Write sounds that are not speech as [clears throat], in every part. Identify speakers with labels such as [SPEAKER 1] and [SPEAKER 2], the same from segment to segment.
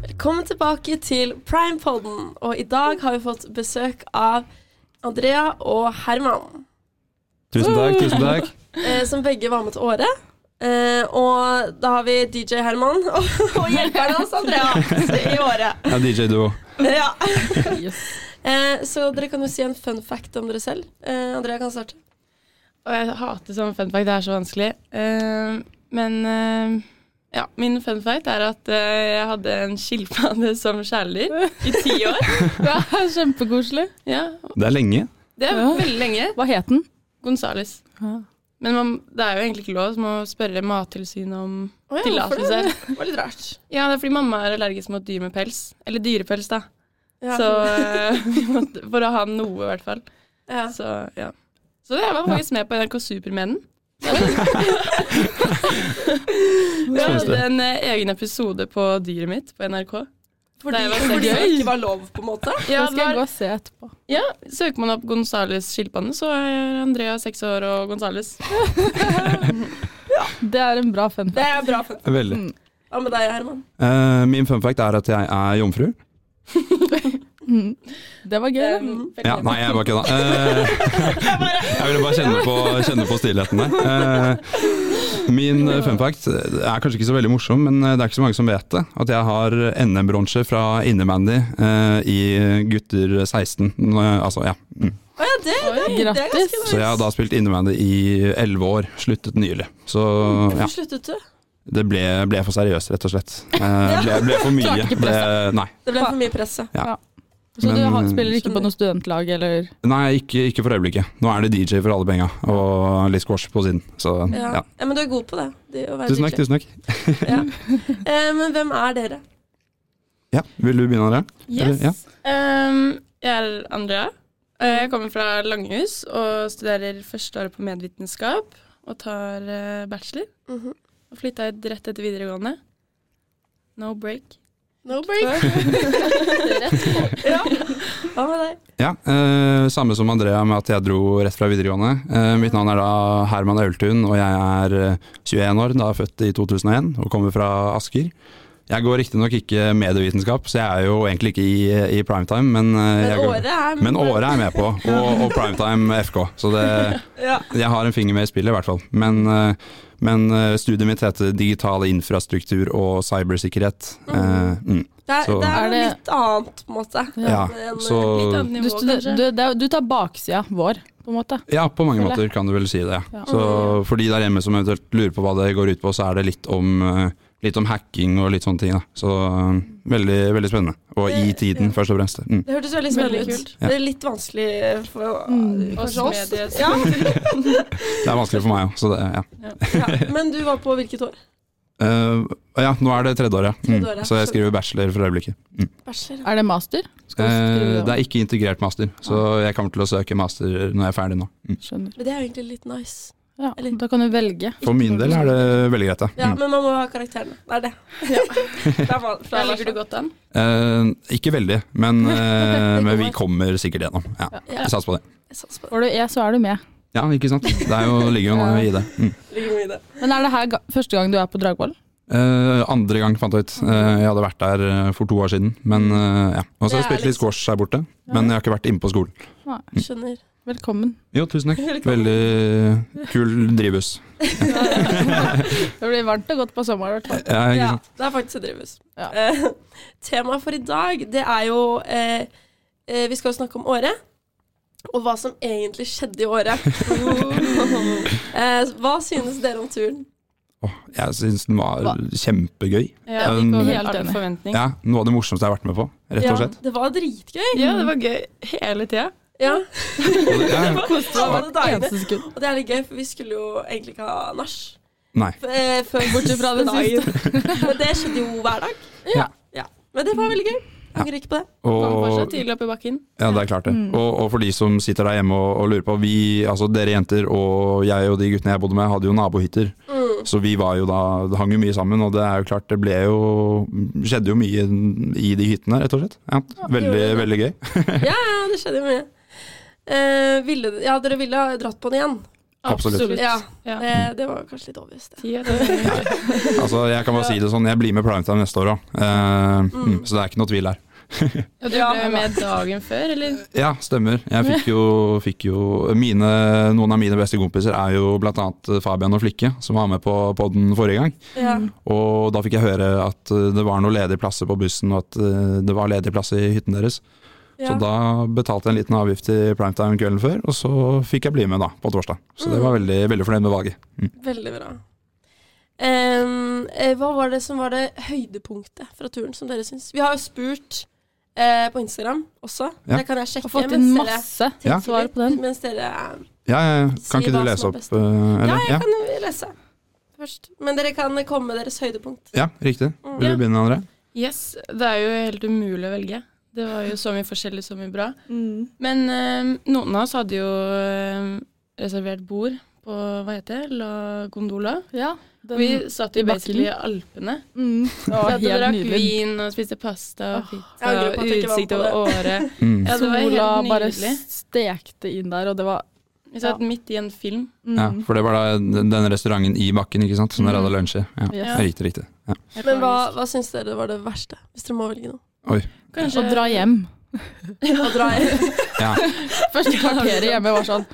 [SPEAKER 1] Velkommen tilbake til Primepodden. Og i dag har vi fått besøk av Andrea og Herman,
[SPEAKER 2] Tusen takk, tusen takk.
[SPEAKER 1] eh, som begge var med til Åre. Eh, og da har vi DJ Herman [laughs] og, og hjelperen hans Andrea i Åre.
[SPEAKER 2] Ja, DJ Duo.
[SPEAKER 1] Ja.
[SPEAKER 3] Yes.
[SPEAKER 4] [laughs]
[SPEAKER 1] Eh, så dere kan jo si en fun fact om dere selv. Eh, Andrea kan starte.
[SPEAKER 3] Og jeg hater sånn fun fact, det er så vanskelig. Eh, men eh, ja, min fun fact er at eh, jeg hadde en skilpadde [laughs] som kjæledyr i ti år.
[SPEAKER 1] [laughs]
[SPEAKER 4] Ja, Kjempekoselig.
[SPEAKER 3] Ja,
[SPEAKER 2] Det er lenge.
[SPEAKER 3] det er
[SPEAKER 4] Ja.
[SPEAKER 3] veldig lenge.
[SPEAKER 4] Hva het den?
[SPEAKER 3] Gonzales. Men man, det er jo egentlig ikke lov så man må spørre Mattilsynet om
[SPEAKER 1] Oh,
[SPEAKER 3] tillatelse. [laughs]
[SPEAKER 1] Det var litt rart.
[SPEAKER 3] Ja, det er fordi mamma er allergisk mot dyr med pels. Eller dyrepels, da.
[SPEAKER 1] Ja.
[SPEAKER 3] Så eh, [laughs] vi måtte, for å ha noe, i hvert fall.
[SPEAKER 1] ja.
[SPEAKER 3] Så ja. Så jeg var faktisk med på NRK
[SPEAKER 2] [laughs]
[SPEAKER 3] Supermennen. Vi
[SPEAKER 2] Synes
[SPEAKER 3] hadde
[SPEAKER 2] det.
[SPEAKER 3] en eh, egen episode på dyret mitt på NRK.
[SPEAKER 1] Fordi,
[SPEAKER 3] Det var så
[SPEAKER 1] fordi det
[SPEAKER 3] gøy.
[SPEAKER 1] ikke var lov, på en måte.
[SPEAKER 3] Ja,
[SPEAKER 4] Den skal jeg gå og se etterpå.
[SPEAKER 3] ja, Søker man opp Gonzales skilpadde, så er Andrea seks år og Gonzales.
[SPEAKER 4] Det er en bra fun
[SPEAKER 1] Det
[SPEAKER 4] fact.
[SPEAKER 1] er bra. fun fact.
[SPEAKER 2] Veldig.
[SPEAKER 4] Mm.
[SPEAKER 1] Hva med deg, Herman?
[SPEAKER 2] Eh, min fun fact er at jeg er jomfru.
[SPEAKER 4] Mm. Det var gøy.
[SPEAKER 3] Um,
[SPEAKER 4] da.
[SPEAKER 3] Mhm.
[SPEAKER 1] Mm.
[SPEAKER 2] Ja, nei, jeg bare kødda. Eh, [laughs] jeg ville bare kjenne på, kjenne på stillheten der. Eh, min eh, fun fact er kanskje ikke så veldig morsom, men eh, det er ikke så mange som vet det. At jeg har NM-bronse fra innebandy eh, i gutter 16. Eh, altså, ja. Mm.
[SPEAKER 1] Å ja, det, det, er- det er
[SPEAKER 4] Grattis.
[SPEAKER 1] ganske nice.
[SPEAKER 2] Så jeg har da spilt innebandy i 11 år. Sluttet nylig. Så ja.
[SPEAKER 1] Hvorfor sluttet du?
[SPEAKER 2] Det ble, ble for seriøst, rett og slett. Eh, ble, ble for mye.
[SPEAKER 4] Klarte ikke
[SPEAKER 2] Det, nei.
[SPEAKER 1] Det ble for mye presse.
[SPEAKER 4] Så du
[SPEAKER 2] Men- eh,
[SPEAKER 4] har- spiller ikke på noe studentlag, eller?
[SPEAKER 2] Nei, ikke, ikke for øyeblikket. Nå er det DJ for alle penga, og litt squash på siden. Så
[SPEAKER 1] Ja.
[SPEAKER 2] ja.
[SPEAKER 1] Ja. men du er god på det. det å være
[SPEAKER 2] Tusen
[SPEAKER 1] DJ.
[SPEAKER 2] takk, tusen takk.
[SPEAKER 1] Ja. Eh, men hvem er dere?
[SPEAKER 2] Ja, Vil du begynne, Andrea?
[SPEAKER 3] Yes.
[SPEAKER 2] Ja.
[SPEAKER 3] Ehm, jeg er Andrea. Eh, Jeg kommer fra Langhus og studerer første året på medvitenskap og tar eh, bachelor.
[SPEAKER 1] Mhm.
[SPEAKER 3] Og flytta hit rett etter videregående. No break.
[SPEAKER 1] No break. [laughs] ja. Hva med deg?
[SPEAKER 2] Ja, eh, Samme som Andrea med at jeg dro rett fra videregående. Eh, mitt navn er da Herman Aultun, og jeg er eh, 21 år, da født i 2001 og kommer fra Asker. Jeg går riktignok ikke medievitenskap, så jeg er jo egentlig ikke i, i primetime, men, eh,
[SPEAKER 1] Men
[SPEAKER 2] jeg går,
[SPEAKER 1] året er
[SPEAKER 2] men Åre er jeg med på, og, og primetime FK. Så det,
[SPEAKER 1] Ja.
[SPEAKER 2] Jeg har en finger med i spillet, i hvert fall. Men, eh, men eh, studiet mitt heter digital infrastruktur og cybersikkerhet. Eh, mm.
[SPEAKER 1] Det er,
[SPEAKER 2] Så-
[SPEAKER 1] det er,
[SPEAKER 4] Er det-
[SPEAKER 1] litt annet, på en eh, måte.
[SPEAKER 2] Ja,
[SPEAKER 1] Men-
[SPEAKER 3] Litt
[SPEAKER 2] så
[SPEAKER 3] annet
[SPEAKER 4] Du,
[SPEAKER 3] nivå,
[SPEAKER 4] studer,
[SPEAKER 3] kanskje.
[SPEAKER 4] du, det er- du tar baksida vår, på en måte.
[SPEAKER 2] ja, på mange
[SPEAKER 4] Føler
[SPEAKER 2] måter kan du vel si det. Ja.
[SPEAKER 4] Ja.
[SPEAKER 2] Så for de der hjemme som eventuelt lurer på hva det går ut på, så er det litt om, eh, litt om hacking og litt sånne ting. Da. Så eh, veldig, veldig spennende. Og i tiden, først og fremst. Mm.
[SPEAKER 1] Det hørtes veldig spennende
[SPEAKER 3] Veldig
[SPEAKER 1] ut. Det er litt vanskelig for
[SPEAKER 4] Mm.
[SPEAKER 1] for
[SPEAKER 3] Oss
[SPEAKER 1] oss.
[SPEAKER 3] medier. [laughs]
[SPEAKER 1] Ja.
[SPEAKER 2] Det er vanskelig for meg òg, så det ja.
[SPEAKER 1] ja. Men du var på hvilket år?
[SPEAKER 2] Eh, ja, nå er det tredje året, ja.
[SPEAKER 1] Tredje året.
[SPEAKER 2] mm. så jeg skriver bachelor for øyeblikket. Mm.
[SPEAKER 1] Bachelor.
[SPEAKER 4] Er det master? Skal du skrive
[SPEAKER 2] Eh,
[SPEAKER 4] det
[SPEAKER 2] det
[SPEAKER 4] om?
[SPEAKER 2] er ikke integrert master, så jeg kommer til å søke master når jeg er ferdig nå. Mm.
[SPEAKER 4] Skjønner.
[SPEAKER 1] Men det er jo egentlig litt nice.
[SPEAKER 4] Ja,
[SPEAKER 1] Eller-
[SPEAKER 4] da kan du velge.
[SPEAKER 2] For min del er det veldig greit,
[SPEAKER 1] Ja,
[SPEAKER 2] ja. Mm.
[SPEAKER 1] Men man må ha karakterene. Det er [laughs] det. det er van-
[SPEAKER 3] Da ligger du godt an.
[SPEAKER 2] Eh, ikke veldig, men, eh, men vi
[SPEAKER 1] Det
[SPEAKER 2] kommer sikkert gjennom. Ja.
[SPEAKER 1] Ja.
[SPEAKER 2] Jeg satser på det.
[SPEAKER 1] Jeg satser på det.
[SPEAKER 4] Får du E, så er du med.
[SPEAKER 2] Ja, ikke sant. Det er jo, ligger jo noe i det. Mm.
[SPEAKER 1] Ligger mye i det.
[SPEAKER 4] Men er det her ga første gang du er på Dragvoll?
[SPEAKER 2] Eh, andre gang fant jeg ut. Eh, jeg hadde vært der eh, for to år siden. Men eh, ja. Og
[SPEAKER 1] Det
[SPEAKER 2] så har jeg
[SPEAKER 1] er
[SPEAKER 2] spilt litt
[SPEAKER 1] liksom-
[SPEAKER 2] squash her borte, men jeg har ikke vært inne på skolen. Mm.
[SPEAKER 1] Skjønner.
[SPEAKER 4] Velkommen.
[SPEAKER 2] Jo, tusen takk. Veldig kul drivhus.
[SPEAKER 4] Det blir varmt og godt på sommeren, i hvert fall.
[SPEAKER 2] Ja, ikke
[SPEAKER 1] Ja,
[SPEAKER 2] sant?
[SPEAKER 1] det er faktisk en drivhus.
[SPEAKER 4] Ja.
[SPEAKER 1] Eh, [laughs] temaet for i dag, det er jo eh, eh, Vi skal jo snakke om året. Og hva som egentlig skjedde i året. eh, hva synes dere om turen?
[SPEAKER 2] Åh, jeg syns den var kjempegøy.
[SPEAKER 3] Ja,
[SPEAKER 2] Um,
[SPEAKER 3] vi
[SPEAKER 4] helt
[SPEAKER 3] helt
[SPEAKER 4] enig.
[SPEAKER 3] enig. Forventning. Ja.
[SPEAKER 2] Ja, Noe av det morsomste jeg har vært med på, rett og slett.
[SPEAKER 1] Ja, det var dritgøy.
[SPEAKER 3] det var gøy hele tida.
[SPEAKER 1] Ja.
[SPEAKER 2] Og det- Ja.
[SPEAKER 1] Det var det deilig.
[SPEAKER 4] Eneste sekund.
[SPEAKER 1] Og det er litt gøy, for vi skulle jo egentlig ikke ha nach.
[SPEAKER 2] Nei.
[SPEAKER 1] F- eh, Før
[SPEAKER 4] Bortsett [laughs] fra det
[SPEAKER 1] dagen. Men det skjedde jo hver dag.
[SPEAKER 2] Ja.
[SPEAKER 1] Men det var veldig gøy. Jeg Angrer ikke på det.
[SPEAKER 3] Kom
[SPEAKER 2] Og
[SPEAKER 3] fortsatt tidlig opp i bakken.
[SPEAKER 2] Ja, det er klart det. Og, og for de som sitter der hjemme og, og lurer på vi, altså Dere jenter og jeg og de guttene jeg bodde med, hadde jo nabohytter.
[SPEAKER 1] Mm.
[SPEAKER 2] Så vi var jo da, det hang jo mye sammen. Og det er jo klart, det ble jo skjedde jo mye i de hyttene, rett og slett. Ja, veldig,
[SPEAKER 1] gjorde det.
[SPEAKER 2] veldig gøy.
[SPEAKER 1] Ja, det skjedde jo mye. Eh, ville, ja, dere ville ha dratt på den igjen.
[SPEAKER 2] Absolutt.
[SPEAKER 1] Ja.
[SPEAKER 3] Ja.
[SPEAKER 1] Eh, det var kanskje litt obvious, det.
[SPEAKER 3] Ti av ti.
[SPEAKER 2] Altså, jeg kan bare si det sånn, jeg blir med Primetime neste år òg, eh, mm, så det er ikke noe tvil her.
[SPEAKER 3] Og du
[SPEAKER 1] Ja.
[SPEAKER 3] ble med dagen før, eller?
[SPEAKER 2] Ja, stemmer. Jeg fikk jo, fikk jo mine, Noen av mine beste kompiser er jo bl.a. Fabian og Flikke, som var med på podden forrige gang.
[SPEAKER 1] Ja.
[SPEAKER 2] Og da fikk jeg høre at eh, det var noen ledige plasser på bussen, og at eh, det var ledige plasser i hytten deres.
[SPEAKER 1] Ja.
[SPEAKER 2] Så da betalte jeg en liten avgift til primetime kvelden før, og så fikk jeg bli med da, på torsdag. Så det var
[SPEAKER 1] Mm.
[SPEAKER 2] veldig, veldig fornøyd med valget.
[SPEAKER 1] Veldig bra. Em, eh, hva var det som var det høydepunktet fra turen, som dere syns? Vi har jo spurt eh, på Instagram også.
[SPEAKER 2] Ja.
[SPEAKER 1] Det kan jeg sjekke.
[SPEAKER 4] Har fått inn
[SPEAKER 1] mens dere
[SPEAKER 4] masse
[SPEAKER 2] Ja.
[SPEAKER 1] tenker
[SPEAKER 4] svar
[SPEAKER 1] litt,
[SPEAKER 4] på den.
[SPEAKER 1] Mens dere er
[SPEAKER 2] Ja, ja, kan
[SPEAKER 1] Si
[SPEAKER 2] ikke
[SPEAKER 1] hva
[SPEAKER 2] du lese
[SPEAKER 1] som er
[SPEAKER 2] opp?
[SPEAKER 1] best.
[SPEAKER 2] eh, Eller?
[SPEAKER 1] Ja,
[SPEAKER 2] ja.
[SPEAKER 1] jeg kan jo lese først. Men dere kan komme med deres høydepunkt.
[SPEAKER 2] ja, riktig.
[SPEAKER 1] Mm.
[SPEAKER 2] Vil du
[SPEAKER 3] Ja.
[SPEAKER 2] begynne, André?
[SPEAKER 3] Yes, det er jo helt umulig å velge. Det var jo så mye forskjellig, så mye bra. Men eh, noen av oss hadde jo eh, reservert bord på, hva heter det, La Gondola.
[SPEAKER 4] Ja, den,
[SPEAKER 3] Vi satt jo
[SPEAKER 4] i
[SPEAKER 3] basically i Alpene.
[SPEAKER 4] mm, det
[SPEAKER 3] Vi
[SPEAKER 4] var
[SPEAKER 3] satt og
[SPEAKER 4] helt
[SPEAKER 3] drakk
[SPEAKER 4] nydelig.
[SPEAKER 3] vin og spiste pasta og pizza
[SPEAKER 1] jeg angrer
[SPEAKER 3] og
[SPEAKER 1] på at jeg ikke var med
[SPEAKER 3] utsikt
[SPEAKER 1] på
[SPEAKER 3] over året.
[SPEAKER 2] Mm.
[SPEAKER 3] Ja, det var
[SPEAKER 4] Sola
[SPEAKER 3] helt
[SPEAKER 4] bare
[SPEAKER 3] nydelig.
[SPEAKER 4] stekte inn der, og det var
[SPEAKER 3] Vi satt midt i en film.
[SPEAKER 1] Um,
[SPEAKER 4] mm,
[SPEAKER 2] Ja, for det var da den den restauranten i bakken, ikke sant, som dere hadde
[SPEAKER 3] Mm.
[SPEAKER 2] lunsj i. Ja.
[SPEAKER 4] Yes.
[SPEAKER 2] Ja, Riktig, riktig. Ja.
[SPEAKER 1] Men hva, hva syns dere var det verste, hvis dere må velge noe?
[SPEAKER 3] Kanskje
[SPEAKER 4] Å dra hjem.
[SPEAKER 3] [laughs]
[SPEAKER 1] Å dra
[SPEAKER 2] [laughs]
[SPEAKER 1] hjem.
[SPEAKER 2] Ja.
[SPEAKER 4] Første kvarteret hjemme var
[SPEAKER 3] [laughs]
[SPEAKER 4] sånn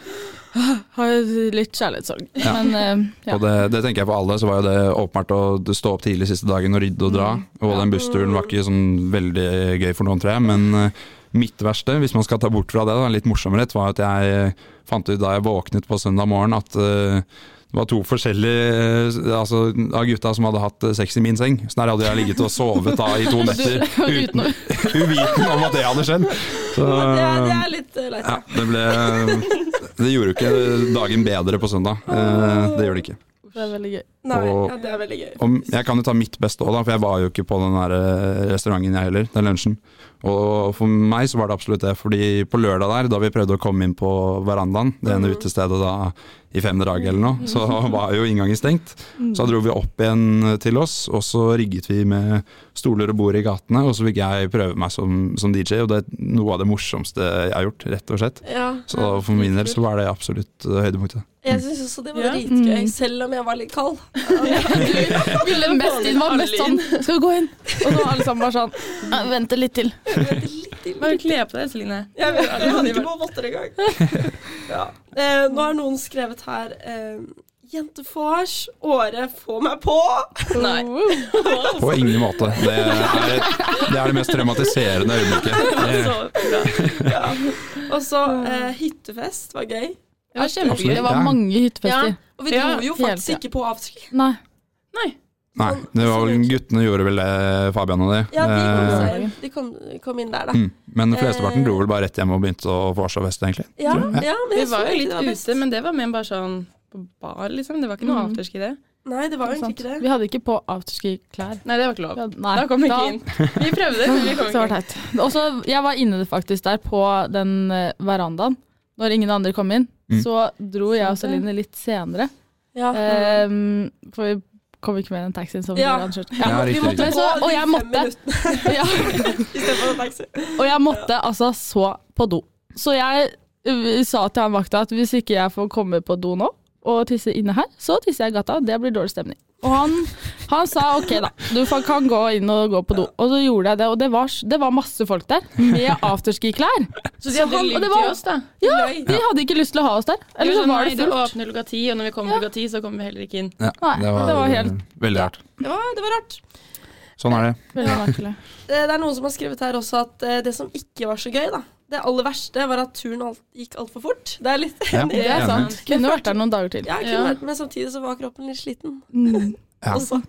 [SPEAKER 4] «Åh, Har jeg litt kjærlighetssorg.
[SPEAKER 2] Ja.
[SPEAKER 4] Men eh, ja.
[SPEAKER 2] Og det, det tenker jeg for alle, så var jo det åpenbart å stå opp tidlig siste dagen og rydde og dra.
[SPEAKER 1] Mm.
[SPEAKER 2] Og den bussturen var ikke sånn veldig gøy for noen, tror jeg. Men eh, mitt verste, hvis man skal ta bort fra det, da, litt morsommere, var at jeg eh, fant ut da jeg våknet på søndag morgen at eh, det var to forskjellige eh, altså, av gutta som hadde hatt eh, sex i min seng. Så der hadde jeg ligget og sovet
[SPEAKER 1] [laughs]
[SPEAKER 2] da i to netter uten, [laughs] uviten om at det hadde skjedd. Så,
[SPEAKER 1] Det, er- det er litt eh, leit.
[SPEAKER 2] Um, ja, det ble eh, Det gjorde jo ikke dagen bedre på søndag. Eh, Det gjorde det ikke.
[SPEAKER 4] Det er veldig gøy.
[SPEAKER 1] Nei,
[SPEAKER 2] og-
[SPEAKER 1] ja, det er veldig gøy.
[SPEAKER 2] Og jeg kan jo ta mitt beste òg, for jeg var jo ikke på den der eh, restauranten jeg heller, den lunsjen. Og for meg så var det absolutt det, fordi på lørdag der, da vi prøvde å komme inn på verandaen, det ene utestedet da i fem drag eller noe, så [laughs] var jo inngangen stengt.
[SPEAKER 4] Mm.
[SPEAKER 2] Så da dro vi opp igjen til oss, og så rigget vi med stoler og bord i gatene, og så fikk jeg prøve meg som, som DJ, og det er noe av det morsomste jeg har gjort, rett og slett.
[SPEAKER 1] Ja.
[SPEAKER 2] Så for min del så var det absolutt eh, høydepunktet.
[SPEAKER 1] Jeg syns også det var
[SPEAKER 3] Ja.
[SPEAKER 1] dritgøy,
[SPEAKER 4] Mm.
[SPEAKER 1] selv om jeg var litt
[SPEAKER 4] [laughs]
[SPEAKER 1] kald.
[SPEAKER 4] ville mest inn, var
[SPEAKER 3] Alle
[SPEAKER 4] mest sånn Skal vi gå inn? Og nå var alle sammen bare sånn «Ja, Vente litt til.
[SPEAKER 1] Jeg vet litt til.
[SPEAKER 3] Bare kle på deg, Celine.
[SPEAKER 1] Jeg vet, jeg hadde ikke på votter [laughs] engang. Ja. Eh, nå har noen skrevet her eh, Jentefors, året få meg på!
[SPEAKER 3] Nei.
[SPEAKER 2] På ingen måte. Det er det, er det mest traumatiserende øyeblikket. [laughs]
[SPEAKER 3] Så bra.
[SPEAKER 1] Og så eh, hyttefest var gøy.
[SPEAKER 3] Det var kjempegøy.
[SPEAKER 2] Absolutt.
[SPEAKER 4] Det var
[SPEAKER 2] Ja.
[SPEAKER 4] mange hyttefester.
[SPEAKER 1] Og vi dro
[SPEAKER 3] Ja,
[SPEAKER 1] jo
[SPEAKER 4] helt,
[SPEAKER 1] faktisk
[SPEAKER 4] ja.
[SPEAKER 1] ikke på avtrykk.
[SPEAKER 4] Nei.
[SPEAKER 2] Nei, det var vel guttene gjorde vel det, Fabian og de.
[SPEAKER 1] Sånn, Ja, de kom,
[SPEAKER 2] Eh,
[SPEAKER 1] seg, de kom, kom inn der, da.
[SPEAKER 2] mm. Men
[SPEAKER 1] Eh.
[SPEAKER 2] flesteparten dro vel bare rett hjem og begynte å vorse og feste, egentlig.
[SPEAKER 1] Ja, ja, men
[SPEAKER 3] Vi
[SPEAKER 1] jeg så
[SPEAKER 3] var jo
[SPEAKER 1] egentlig
[SPEAKER 3] litt
[SPEAKER 1] det var best.
[SPEAKER 3] ute, men det var mer bare sånn på bar, liksom. Det var ikke noe
[SPEAKER 4] Mhm.
[SPEAKER 3] afterski, det.
[SPEAKER 1] Nei, det var jo
[SPEAKER 4] Sant.
[SPEAKER 1] egentlig ikke det.
[SPEAKER 4] Vi hadde ikke på afterski-klær.
[SPEAKER 3] Nei, det var ikke lov.
[SPEAKER 4] Vi hadde- Nei.
[SPEAKER 3] Da kom vi
[SPEAKER 4] Da-
[SPEAKER 3] ikke inn. Vi prøvde, men vi kom
[SPEAKER 4] [laughs] Så
[SPEAKER 3] ikke
[SPEAKER 4] var
[SPEAKER 3] inn.
[SPEAKER 4] det teit. Også, jeg var inne faktisk der på den eh, verandaen. Når ingen andre kom inn,
[SPEAKER 2] Mm.
[SPEAKER 4] så dro jeg og
[SPEAKER 3] Sant det.
[SPEAKER 4] Celine litt senere.
[SPEAKER 1] Ja.
[SPEAKER 4] Ehm, for vi kom ikke med den taxien som
[SPEAKER 1] Ja.
[SPEAKER 4] vi hadde kjørt.
[SPEAKER 2] Ja,
[SPEAKER 1] Vi
[SPEAKER 2] riktig,
[SPEAKER 1] måtte
[SPEAKER 2] riktig.
[SPEAKER 1] på
[SPEAKER 4] Så- og
[SPEAKER 1] de
[SPEAKER 4] jeg
[SPEAKER 1] fem
[SPEAKER 4] måtte.
[SPEAKER 1] minuttene
[SPEAKER 4] Ja.
[SPEAKER 1] i stedet for taxi.
[SPEAKER 4] Og jeg måtte altså så på do. Så jeg uh, sa til han vakta at hvis ikke jeg får komme på do nå og tisse inne her, så tisser jeg i gata. Det blir dårlig stemning. Og han, han sa ok, da. Du fa- kan gå inn og gå på do. Og så gjorde jeg det, og det var, s- det var masse folk der med afterski-klær.
[SPEAKER 3] Så de hadde
[SPEAKER 4] han- og det
[SPEAKER 3] lydd til
[SPEAKER 4] var-
[SPEAKER 3] oss, da.
[SPEAKER 4] Ja,
[SPEAKER 1] Løy.
[SPEAKER 4] de hadde ikke lyst til å ha oss der. Eller så
[SPEAKER 3] Sånn,
[SPEAKER 4] var
[SPEAKER 3] nei,
[SPEAKER 4] det fullt.
[SPEAKER 3] åpner klokka ti, og når vi kommer klokka ti, så kommer vi heller ikke inn.
[SPEAKER 2] Ja,
[SPEAKER 4] Nei, det var helt-
[SPEAKER 2] eh, veldig rart.
[SPEAKER 1] Det var, det var rart.
[SPEAKER 2] Sånn er det.
[SPEAKER 4] Veldig merkelig.
[SPEAKER 1] Eh, Det er noen som har skrevet her også at eh, det som ikke var så gøy, da. Det aller verste var at turen alt, gikk altfor fort. Det er litt
[SPEAKER 2] Ja.
[SPEAKER 1] enig.
[SPEAKER 4] Det er sant. Kunne vært der noen dager til.
[SPEAKER 1] Ja, jeg kunne
[SPEAKER 3] Ja.
[SPEAKER 1] vært, men samtidig så var kroppen litt sliten.
[SPEAKER 4] Mm.
[SPEAKER 2] Ja.
[SPEAKER 1] Også.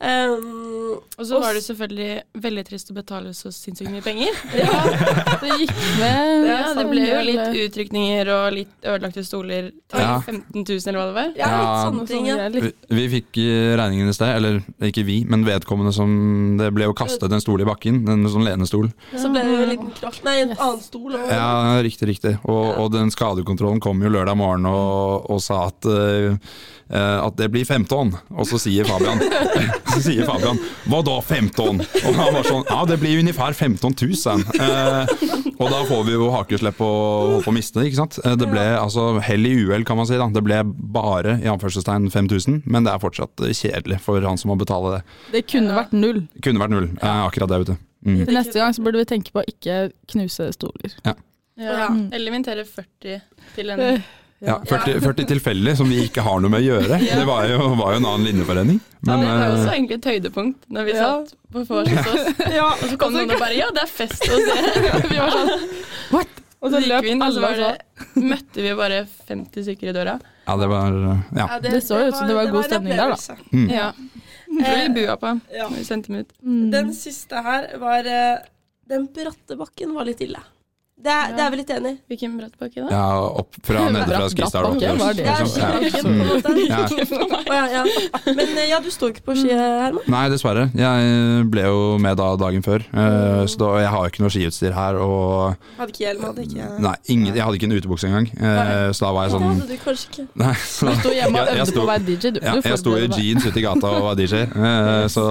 [SPEAKER 1] Um,
[SPEAKER 3] Og så var det selvfølgelig veldig trist å betale så sinnssykt mye [laughs] penger.
[SPEAKER 4] Det gikk med
[SPEAKER 3] Ja, det ble jo litt utrykninger og litt ødelagte stoler til
[SPEAKER 2] Ja.
[SPEAKER 3] 15 000, eller hva det var.
[SPEAKER 1] ja, litt
[SPEAKER 2] Ja,
[SPEAKER 1] sånne ting. Ja.
[SPEAKER 2] Vi, vi fikk eh, regningen i sted, eller ikke vi, men vedkommende som Det ble jo kastet en stol i bakken, en sånn lenestol.
[SPEAKER 1] Så ble det jo en liten kraft Nei, en
[SPEAKER 4] Yes.
[SPEAKER 1] annen stol. Og,
[SPEAKER 2] Ja, riktig, riktig. Og, og den skadekontrollen kom jo lørdag morgen og, og sa at eh, eh, at det blir 15, og så sier Fabian [laughs] Så sier Fabian hva da 15? Og han var sånn ja, det blir ungefær 15 000. Eh, og da får vi jo hakeslepp og holdt på å miste det, ikke sant. Eh, Det ble altså hell i uhell, kan man si. da Det ble bare i anførselstegn 5000, men det er fortsatt kjedelig for han som må betale det.
[SPEAKER 4] Det kunne vært null.
[SPEAKER 2] Det kunne vært null, eh, akkurat det, vet du. Mm.
[SPEAKER 4] Til neste gang så burde vi tenke på å ikke knuse stoler.
[SPEAKER 3] Ja.
[SPEAKER 1] Mm.
[SPEAKER 3] Eller invitere 40 til en
[SPEAKER 2] Ja, 40, 40 tilfeldig, som vi ikke har noe med å gjøre. Det var jo, var jo en annen linjeforening.
[SPEAKER 3] Ja, det var jo også
[SPEAKER 2] eh,
[SPEAKER 3] egentlig et høydepunkt når vi
[SPEAKER 4] Ja.
[SPEAKER 3] satt på [laughs] vors hos oss. Og så kom noen og bare 'ja, det er fest hos dere'. [laughs] Vi var sånn,
[SPEAKER 4] Og
[SPEAKER 3] så gikk vi inn, og så
[SPEAKER 4] alle
[SPEAKER 3] var
[SPEAKER 4] og sa
[SPEAKER 3] det, møtte vi bare 50 stykker i døra.
[SPEAKER 2] ja, det var eh, Ja.
[SPEAKER 1] Ja,
[SPEAKER 4] Det så jo ut som det var god
[SPEAKER 1] en
[SPEAKER 4] stemning der, da.
[SPEAKER 1] opplevelse.
[SPEAKER 2] Mm.
[SPEAKER 3] Ja. Det ble vi bua på
[SPEAKER 1] Ja.
[SPEAKER 3] når vi sendte dem ut.
[SPEAKER 1] Den siste her var eh, Den bratte bakken var litt ille. Det, er- det er vi litt enig i.
[SPEAKER 3] Hvilken brattbakke da?
[SPEAKER 2] ja opp fra nede fra Skistar og
[SPEAKER 4] Brattbakke
[SPEAKER 2] oppover.
[SPEAKER 4] var det.
[SPEAKER 1] Det er
[SPEAKER 2] Liksom, ja.
[SPEAKER 1] skibakken, på en måte.
[SPEAKER 2] Ja.
[SPEAKER 1] [laughs] Å, ja, ja. Men eh, ja, du sto ikke på ski, Herman.
[SPEAKER 2] Nei, dessverre. Jeg eh, ble jo med da dagen før, eh, så da, jeg har jo ikke noe skiutstyr her. Og
[SPEAKER 1] Hadde ikke hjelm, hadde ikke
[SPEAKER 2] nei, ingen, jeg hadde ikke en utebukse engang, eh, så da var jeg
[SPEAKER 1] Det
[SPEAKER 2] sånn
[SPEAKER 1] hadde du kanskje ikke.
[SPEAKER 2] [laughs] Nei, så,
[SPEAKER 4] Du sto hjemme og
[SPEAKER 2] Jeg- jeg
[SPEAKER 4] øvde på
[SPEAKER 2] sto-
[SPEAKER 4] å være DJ, du.
[SPEAKER 2] ja, jeg
[SPEAKER 4] Du
[SPEAKER 2] sto i
[SPEAKER 4] forberedte deg.
[SPEAKER 2] jeans ute i gata og var DJ, eh, så,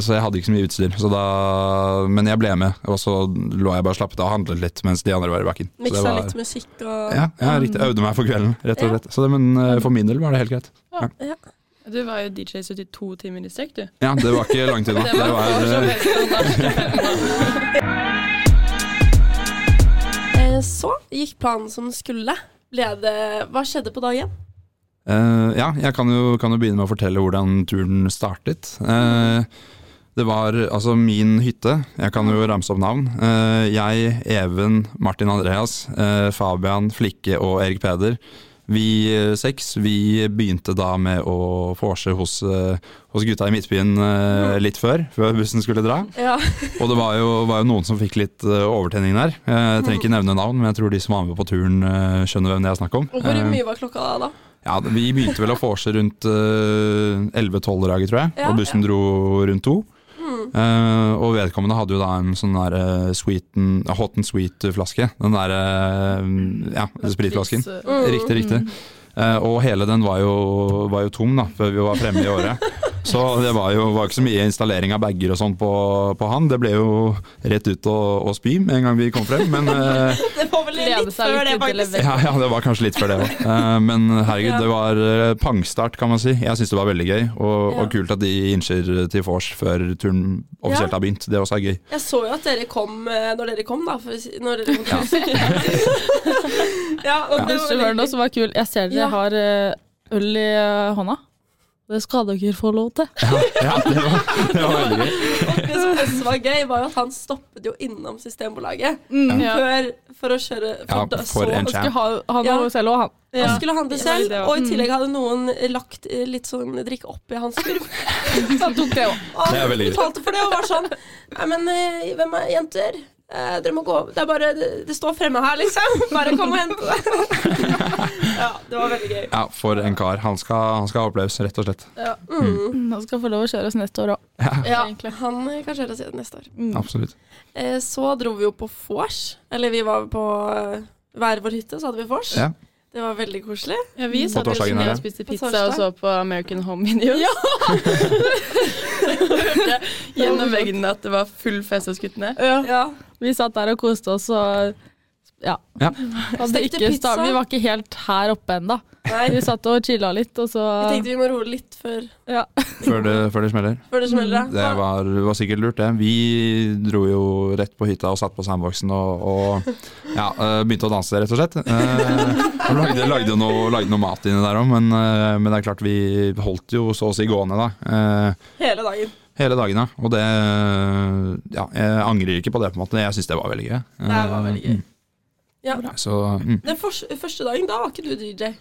[SPEAKER 2] så jeg hadde ikke så mye utstyr. Så da, men jeg ble med, og så lå jeg bare og slappet av og handlet litt mens de andre var i bakken. Så det
[SPEAKER 1] Miksa
[SPEAKER 2] var-
[SPEAKER 1] litt musikk og
[SPEAKER 2] Ja, ja, riktig. Øvde meg for kvelden, rett og
[SPEAKER 1] Ja.
[SPEAKER 2] slett. Så det, men eh, for min del var det helt greit.
[SPEAKER 3] Du var jo DJ 72 timer i strekk, du.
[SPEAKER 2] Ja, det var ikke langt unna.
[SPEAKER 3] Det
[SPEAKER 2] Det
[SPEAKER 3] var
[SPEAKER 2] var,
[SPEAKER 3] vors og
[SPEAKER 2] eh,
[SPEAKER 3] fest og nach.
[SPEAKER 2] [laughs]
[SPEAKER 1] Eh, Så gikk planen som den skulle. Ble det Hva skjedde på dag én?
[SPEAKER 2] eh, ja, jeg kan jo, kan jo begynne med å fortelle hvordan turen startet. Eh, det var altså min hytte. Jeg kan jo ramse opp navn. Eh, jeg, Even, Martin Andreas, eh, Fabian, Flikke og Erik Peder. Vi eh, seks vi begynte da med å vorse hos, eh, hos gutta i Midtbyen eh, litt før, før bussen skulle dra.
[SPEAKER 1] Ja.
[SPEAKER 2] Og det var jo, var jo noen som fikk litt eh, overtenning der. Eh, Jeg trenger
[SPEAKER 1] Mhm.
[SPEAKER 2] ikke nevne navn, men jeg tror de som var med på turen eh, skjønner hvem det er snakk om.
[SPEAKER 1] Og hvor
[SPEAKER 2] Eh,
[SPEAKER 1] mye var klokka da?
[SPEAKER 2] ja, Vi begynte vel å vorse rundt eh, 11-12-draget, tror jeg,
[SPEAKER 1] Ja,
[SPEAKER 2] og bussen dro rundt to.
[SPEAKER 1] Hmm.
[SPEAKER 2] Eh, og vedkommende hadde jo da en sånn der eh, sweet and, hot and sweet-flaske. Den der eh, ja, spritflasken.
[SPEAKER 3] Så-
[SPEAKER 1] Mm.
[SPEAKER 2] Riktig, riktig. Eh, og hele den var jo, var jo tom da, før vi var fremme i året. Så det var jo var ikke så mye installering av bager og sånn på, på han. Det ble jo rett ut og, og spy med en gang vi kom frem. Men eh,
[SPEAKER 1] Det var vel
[SPEAKER 4] Glede
[SPEAKER 1] litt før
[SPEAKER 4] seg litt
[SPEAKER 1] det,
[SPEAKER 4] til det
[SPEAKER 1] faktisk.
[SPEAKER 4] leverte.
[SPEAKER 2] ja, ja, det var kanskje litt før det òg. men herregud, det var eh, pangstart, kan man si. Jeg syns det var veldig gøy, og, og kult at de innser til vors før turen offisielt har begynt. Det også er gøy.
[SPEAKER 1] Jeg så jo at dere kom eh, når dere kom, da. For, å si- når dere kom til huset. [laughs] ja, og det
[SPEAKER 4] Første
[SPEAKER 1] var
[SPEAKER 4] var
[SPEAKER 1] veldig
[SPEAKER 4] noe som var kul. Jeg ser dere
[SPEAKER 1] Ja.
[SPEAKER 4] har eh, øl i eh, hånda. Det skal dere få lov til.
[SPEAKER 2] Ja, det var, det var veldig gøy.
[SPEAKER 4] [laughs]
[SPEAKER 1] Det som også var gøy, var jo at han stoppet jo innom Systembolaget
[SPEAKER 4] Mm. Ja.
[SPEAKER 1] før, for å kjøre
[SPEAKER 2] Ja,
[SPEAKER 1] da-
[SPEAKER 2] for en
[SPEAKER 4] Skulle
[SPEAKER 2] champ.
[SPEAKER 4] ha, han
[SPEAKER 1] Ja.
[SPEAKER 4] og selv og han.
[SPEAKER 1] så, Han skulle handle
[SPEAKER 3] Ja,
[SPEAKER 1] selv,
[SPEAKER 3] det var-
[SPEAKER 1] og i tillegg hadde noen lagt eh, litt sånn drikke oppi hans [laughs] kurv.
[SPEAKER 4] Så han tok det òg.
[SPEAKER 1] Og
[SPEAKER 2] Det er
[SPEAKER 1] han
[SPEAKER 2] veldig gøy.
[SPEAKER 1] betalte for det og var sånn Nei, men eh, hvem er jenter? Eh, dere må gå over. Det er bare Det, det står fremme her, liksom. [laughs] Bare kom og hente det. ja, det var veldig gøy.
[SPEAKER 2] Ja, for en kar. Han skal, han skal ha opplevelse, rett og slett.
[SPEAKER 1] Mm.
[SPEAKER 4] Han skal få lov å kjøre oss neste år òg.
[SPEAKER 1] Ja, han eh, kan kjøre oss igjen neste år.
[SPEAKER 4] Mm.
[SPEAKER 2] Absolutt.
[SPEAKER 1] Eh, så dro vi jo på vors. Eller vi var på eh, hver vår hytte, så hadde vi vors.
[SPEAKER 2] Ja.
[SPEAKER 1] Det var veldig koselig.
[SPEAKER 3] Ja, vi satt jo
[SPEAKER 2] torsdagen,
[SPEAKER 3] så mye
[SPEAKER 2] ja.
[SPEAKER 3] og spiste
[SPEAKER 1] På
[SPEAKER 3] pizza
[SPEAKER 1] torsdag.
[SPEAKER 3] og så på American Home Videos. [laughs] Ja! Gjennom veggen at det var full fest hos guttene.
[SPEAKER 1] Ja.
[SPEAKER 4] Vi satt der og koste oss og ja.
[SPEAKER 2] Ja.
[SPEAKER 4] Hadde
[SPEAKER 1] Stekte
[SPEAKER 4] ikke
[SPEAKER 1] pizza.
[SPEAKER 4] sta- vi var ikke helt her oppe ennå.
[SPEAKER 1] Nei,
[SPEAKER 4] Vi satt og chilla litt, og så
[SPEAKER 1] vi tenkte vi må roe litt før,
[SPEAKER 4] ja.
[SPEAKER 2] Før det, før det smeller.
[SPEAKER 1] før det smeller.
[SPEAKER 2] Mm, Det var, var sikkert lurt, det. Vi dro jo rett på hytta og satt på sandboxen og, og ja, eh, begynte å danse, rett og slett. Eh, [laughs] og lagde, lagde, noe, lagde noe mat inni der òg, men, eh, men det er klart vi holdt jo så å si gående da. eh,
[SPEAKER 1] Hele dagen.
[SPEAKER 2] hele dagen, da. Og det Ja, jeg angrer ikke på det, på en måte. Jeg syns det var veldig gøy.
[SPEAKER 1] Det var veldig gøy.
[SPEAKER 2] Mm.
[SPEAKER 1] Ja.
[SPEAKER 2] Så mm.
[SPEAKER 1] Den fors- første dagen, da var ikke du DJ.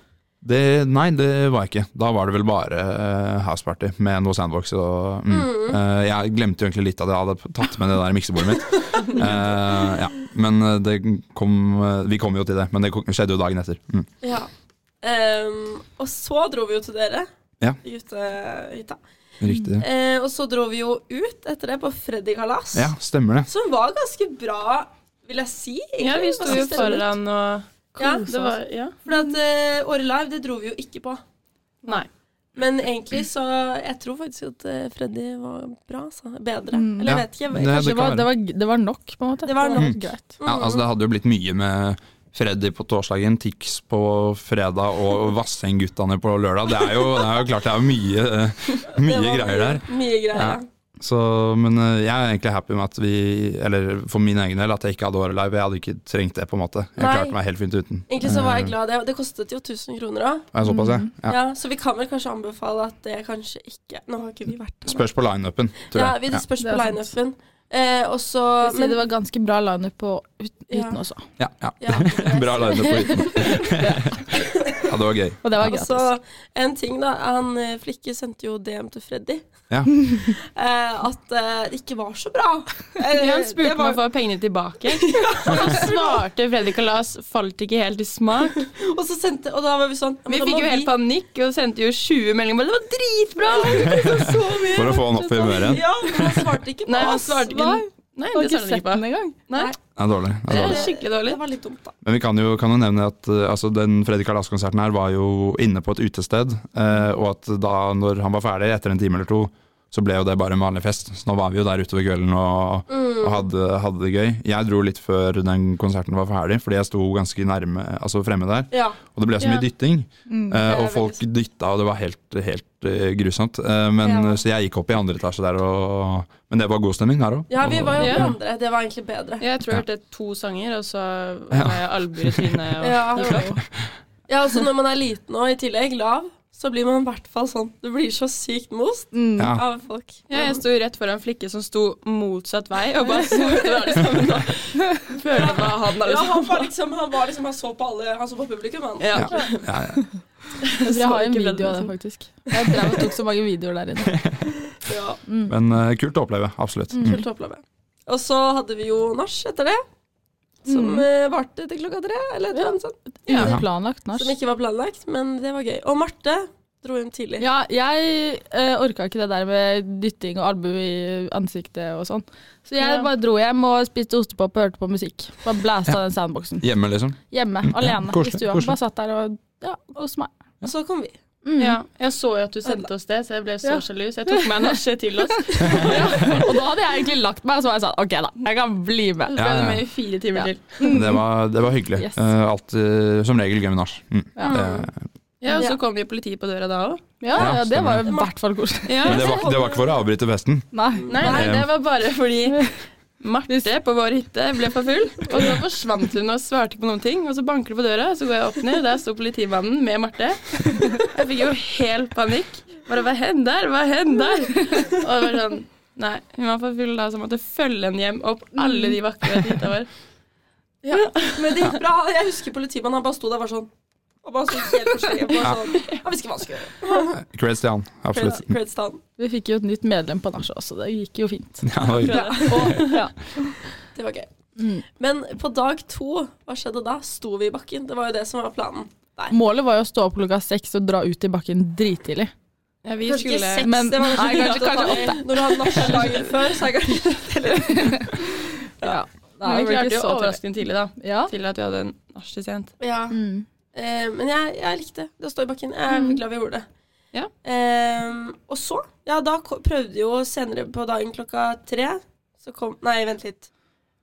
[SPEAKER 2] det, Nei, det var jeg ikke. Da var det vel bare eh, houseparty med noe sandbox og mm. Eh, Jeg glemte jo egentlig litt at jeg hadde tatt med det der miksebordet mitt. Eh, ja. Men eh, det kom eh, Vi kom jo til det, men det ko- skjedde jo dagen etter. Mm.
[SPEAKER 1] Ja. Ehm, og så dro vi jo til dere.
[SPEAKER 2] Ja.
[SPEAKER 1] i Hyttehytta.
[SPEAKER 2] Riktig.
[SPEAKER 1] Eh, og så dro vi jo ut etter det på Freddy Kalas,
[SPEAKER 2] Ja, stemmer det.
[SPEAKER 1] som var ganske bra, vil jeg si. egentlig.
[SPEAKER 3] Ja, vi
[SPEAKER 1] Hva
[SPEAKER 3] sto jo
[SPEAKER 1] synes dere om det?
[SPEAKER 3] foran og
[SPEAKER 1] Ja,
[SPEAKER 3] det var, ja.
[SPEAKER 1] For at eh, Året Live, det dro vi jo ikke på.
[SPEAKER 3] Nei.
[SPEAKER 1] Men egentlig så Jeg tror faktisk at eh, Freddy var bra, altså. Bedre.
[SPEAKER 4] Mm.
[SPEAKER 1] Eller jeg
[SPEAKER 2] Ja.
[SPEAKER 1] vet Mm. ikke.
[SPEAKER 2] Det-
[SPEAKER 1] Jeg,
[SPEAKER 4] Kanskje det,
[SPEAKER 2] kan
[SPEAKER 4] var,
[SPEAKER 2] være.
[SPEAKER 4] det, var, det var nok, på en måte.
[SPEAKER 1] Det var nok.
[SPEAKER 4] greit.
[SPEAKER 2] Ja, altså Det hadde jo blitt mye med Freddy på torsdagen, Tix på fredag og Vassengutane på lørdag. Det er jo, det er jo klart det er jo mye, eh,
[SPEAKER 1] det
[SPEAKER 2] mye
[SPEAKER 1] var
[SPEAKER 2] greier der.
[SPEAKER 1] Mye greier.
[SPEAKER 2] Ja. Så, men eh, jeg er egentlig happy med at vi, eller for min egen del, at jeg ikke hadde året live. Jeg hadde ikke trengt det, på en måte. Jeg
[SPEAKER 1] Nei.
[SPEAKER 2] klarte meg helt fint uten.
[SPEAKER 1] Egentlig så var jeg glad. Det, det kostet jo 1000 kroner òg.
[SPEAKER 2] Er det såpass, jeg?
[SPEAKER 1] Ja.
[SPEAKER 2] Eh. Ja.
[SPEAKER 1] så vi kan vel kanskje anbefale at det kanskje ikke Nå har ikke vi vært der.
[SPEAKER 2] Spørs på lineupen, tror
[SPEAKER 1] Ja,
[SPEAKER 2] jeg.
[SPEAKER 1] vi
[SPEAKER 2] Ja.
[SPEAKER 1] spørs
[SPEAKER 4] Det
[SPEAKER 1] på
[SPEAKER 4] er sant.
[SPEAKER 1] lineupen. Eh, og så
[SPEAKER 4] Si det [laughs] var ganske bra lineup på ut-
[SPEAKER 1] Ja.
[SPEAKER 4] uten også.
[SPEAKER 2] Ja, ja.
[SPEAKER 1] ja, det-
[SPEAKER 2] [laughs] Bra lineup
[SPEAKER 1] [laughs]
[SPEAKER 2] på utenfor. ja, det var gøy.
[SPEAKER 4] Og det var
[SPEAKER 1] Og
[SPEAKER 4] gratis.
[SPEAKER 1] så en ting, da. Han eh, Flikke sendte jo DM til Freddy.
[SPEAKER 2] Ja.
[SPEAKER 1] Eh, at eh, det ikke var så
[SPEAKER 3] [laughs]
[SPEAKER 1] bra. Eh,
[SPEAKER 3] Han
[SPEAKER 1] det
[SPEAKER 3] spurte om
[SPEAKER 1] var-
[SPEAKER 3] å få pengene tilbake. Så svarte Fredrik og Lars falt ikke helt i smak.
[SPEAKER 1] Og så sendte Og da var vi sånn ja, men
[SPEAKER 3] Vi
[SPEAKER 1] da
[SPEAKER 3] fikk
[SPEAKER 1] må
[SPEAKER 3] jo
[SPEAKER 1] [laughs]
[SPEAKER 3] helt panikk og sendte jo 20 meldinger. bare, Det var dritbra!
[SPEAKER 1] så mye.
[SPEAKER 3] [laughs]
[SPEAKER 2] For å få han opp i humøret igjen.
[SPEAKER 1] Ja, men han svarte ikke på
[SPEAKER 3] Nei, han
[SPEAKER 1] oss.
[SPEAKER 3] svarte ikke.
[SPEAKER 1] Nei,
[SPEAKER 3] Nei,
[SPEAKER 4] Har ikke
[SPEAKER 3] det svarte han
[SPEAKER 4] sett
[SPEAKER 3] ikke på.
[SPEAKER 4] den engang.
[SPEAKER 3] Nei,
[SPEAKER 2] Det er dårlig. Det er
[SPEAKER 3] det
[SPEAKER 2] dårlig.
[SPEAKER 3] var skikkelig dårlig.
[SPEAKER 1] Det var litt dumt, da.
[SPEAKER 2] Men vi kan jo, kan jo nevne at eh, altså, den Freddy Kalas-konserten her var jo inne på et utested, eh, og at da når han var ferdig, etter en time eller to, så ble jo det bare en vanlig fest. Så nå var vi jo der utover kvelden og,
[SPEAKER 1] Mm.
[SPEAKER 2] og hadde, hadde det gøy. Jeg dro litt før den konserten var ferdig, fordi jeg sto ganske nærme, altså fremme der.
[SPEAKER 1] Ja.
[SPEAKER 2] Og det ble så
[SPEAKER 3] Ja.
[SPEAKER 2] mye dytting,
[SPEAKER 1] Det
[SPEAKER 2] eh,
[SPEAKER 4] Mm.
[SPEAKER 1] er
[SPEAKER 2] og folk dytta, og det var helt, helt eh, grusomt. Eh, men,
[SPEAKER 1] Ja.
[SPEAKER 2] Så jeg gikk opp i andre etasje der, og, men det var god stemning der òg.
[SPEAKER 1] ja, vi var jo
[SPEAKER 3] Ja.
[SPEAKER 1] på andre. Det var egentlig bedre.
[SPEAKER 3] Jeg tror jeg hørte to sanger, og så var jeg albuer i trynet. og-
[SPEAKER 1] Ja. Ja, altså når man er liten og i tillegg lav, så blir man i hvert fall sånn Du blir så sykt most
[SPEAKER 4] Mm.
[SPEAKER 2] Ja.
[SPEAKER 1] av folk.
[SPEAKER 3] Ja, jeg sto rett foran flikke som sto motsatt vei, og bare så ut det sammen. og Føler at det var han der.
[SPEAKER 1] Ja,
[SPEAKER 3] liksom.
[SPEAKER 1] han var liksom Han, var liksom, han så på alle Han så på publikum, han.
[SPEAKER 3] Ja.
[SPEAKER 2] Ja, ja.
[SPEAKER 4] Jeg tror jeg har
[SPEAKER 3] Så
[SPEAKER 4] en
[SPEAKER 3] ikke
[SPEAKER 4] video av det,
[SPEAKER 3] veldig-
[SPEAKER 4] faktisk. Jeg drev og tok så mange videoer der inne.
[SPEAKER 1] Ja,
[SPEAKER 2] Men eh, kult å oppleve, absolutt.
[SPEAKER 4] Mm.
[SPEAKER 1] Fullt håpla med. Og så hadde vi jo nach etter det, som
[SPEAKER 4] Mm.
[SPEAKER 1] eh, varte til klokka tre, eller et eller annet sånt.
[SPEAKER 3] Ja.
[SPEAKER 4] Planlagt nach.
[SPEAKER 1] Som ikke var planlagt, men det var gøy. Og Marte dro hjem tidlig.
[SPEAKER 4] Ja, jeg eh, orka ikke det der med dytting og albu i ansiktet og sånn. Så jeg
[SPEAKER 3] Ja.
[SPEAKER 4] bare dro hjem og spiste ostepop og hørte på musikk. Bare blæsta den soundboxen.
[SPEAKER 2] Hjemme, liksom.
[SPEAKER 4] Hjemme, alene
[SPEAKER 2] koselig,
[SPEAKER 4] i stua.
[SPEAKER 2] koselig.
[SPEAKER 4] Bare satt der og ja, hos meg. [laughs]
[SPEAKER 1] Og så kom vi.
[SPEAKER 3] Mm. Ja, jeg så jo at du sendte oss det, så jeg ble så
[SPEAKER 4] Ja.
[SPEAKER 3] sjalu. Så jeg tok meg en nasje til oss. Så
[SPEAKER 4] Og da hadde jeg egentlig lagt meg, og så var jeg sånn OK, da. Jeg kan bli med.
[SPEAKER 3] ble
[SPEAKER 2] Ja, ja.
[SPEAKER 3] det med i fire
[SPEAKER 4] Ja.
[SPEAKER 3] timer til.
[SPEAKER 2] Det var, det var hyggelig.
[SPEAKER 4] Yes.
[SPEAKER 2] Eh, alltid, som regel gøy med nach. Mm.
[SPEAKER 4] Ja.
[SPEAKER 2] Det,
[SPEAKER 3] Ja, og
[SPEAKER 1] Ja.
[SPEAKER 3] så kom jo politiet på døra da òg.
[SPEAKER 4] Ja,
[SPEAKER 2] Ja,
[SPEAKER 4] ja det var jo i
[SPEAKER 1] stemmer.
[SPEAKER 4] hvert fall koselig.
[SPEAKER 3] Ja.
[SPEAKER 2] men det var, det var ikke for å avbryte festen.
[SPEAKER 4] Nei.
[SPEAKER 3] Nei, nei, det var bare fordi Marte på vår hytte ble for full, og så forsvant hun og svarte ikke på noen ting. Og så banker det på døra, og så går jeg opp ned, og der sto politimannen med Marte. Jeg fikk jo helt panikk. Bare hva hender? Hva hender? Og det var sånn Nei, hun var for full da, så jeg måtte følge henne hjem opp alle de vakre hytta vår.
[SPEAKER 1] Ja. Men det gikk bra. Jeg husker politimannen, han bare sto der og var sånn. Og bare så helt forskjellig på sånn. Han visste ikke hva han skulle gjøre.
[SPEAKER 2] Creds til han, absolutt.
[SPEAKER 1] Creds- Creds til han.
[SPEAKER 4] Vi fikk jo et nytt medlem på nachet også, det gikk jo fint.
[SPEAKER 2] Ja, det var hyggelig.
[SPEAKER 4] Og, ja.
[SPEAKER 1] Det var gøy.
[SPEAKER 4] Mm.
[SPEAKER 1] Men på dag to, hva skjedde da? Sto vi i bakken? Det var jo det som var planen.
[SPEAKER 4] Målet var jo å stå opp klokka seks og dra ut i bakken drittidlig.
[SPEAKER 3] Ja, vi
[SPEAKER 1] Kanskje ikke
[SPEAKER 3] skulle
[SPEAKER 1] seks,
[SPEAKER 4] men-
[SPEAKER 1] det var
[SPEAKER 4] nei,
[SPEAKER 1] kanskje, greit å
[SPEAKER 4] kanskje-
[SPEAKER 1] ta
[SPEAKER 4] kanskje
[SPEAKER 1] i. Når du hadde nachspiel dagen før, så er det kanskje
[SPEAKER 4] Ja.
[SPEAKER 3] Men vi
[SPEAKER 4] det var ikke
[SPEAKER 3] klarte jo
[SPEAKER 4] så tidlig.
[SPEAKER 3] overraskende tidlig, da.
[SPEAKER 4] Ja.
[SPEAKER 3] Til at vi hadde en nach til sent.
[SPEAKER 1] Ja.
[SPEAKER 4] Mm.
[SPEAKER 1] Eh, men jeg, jeg likte det å stå i bakken. Jeg er glad vi gjorde det.
[SPEAKER 3] Ja.
[SPEAKER 1] Eh, og så, ja, da ko- prøvde jo senere på dagen klokka tre, så kom Nei, vent litt.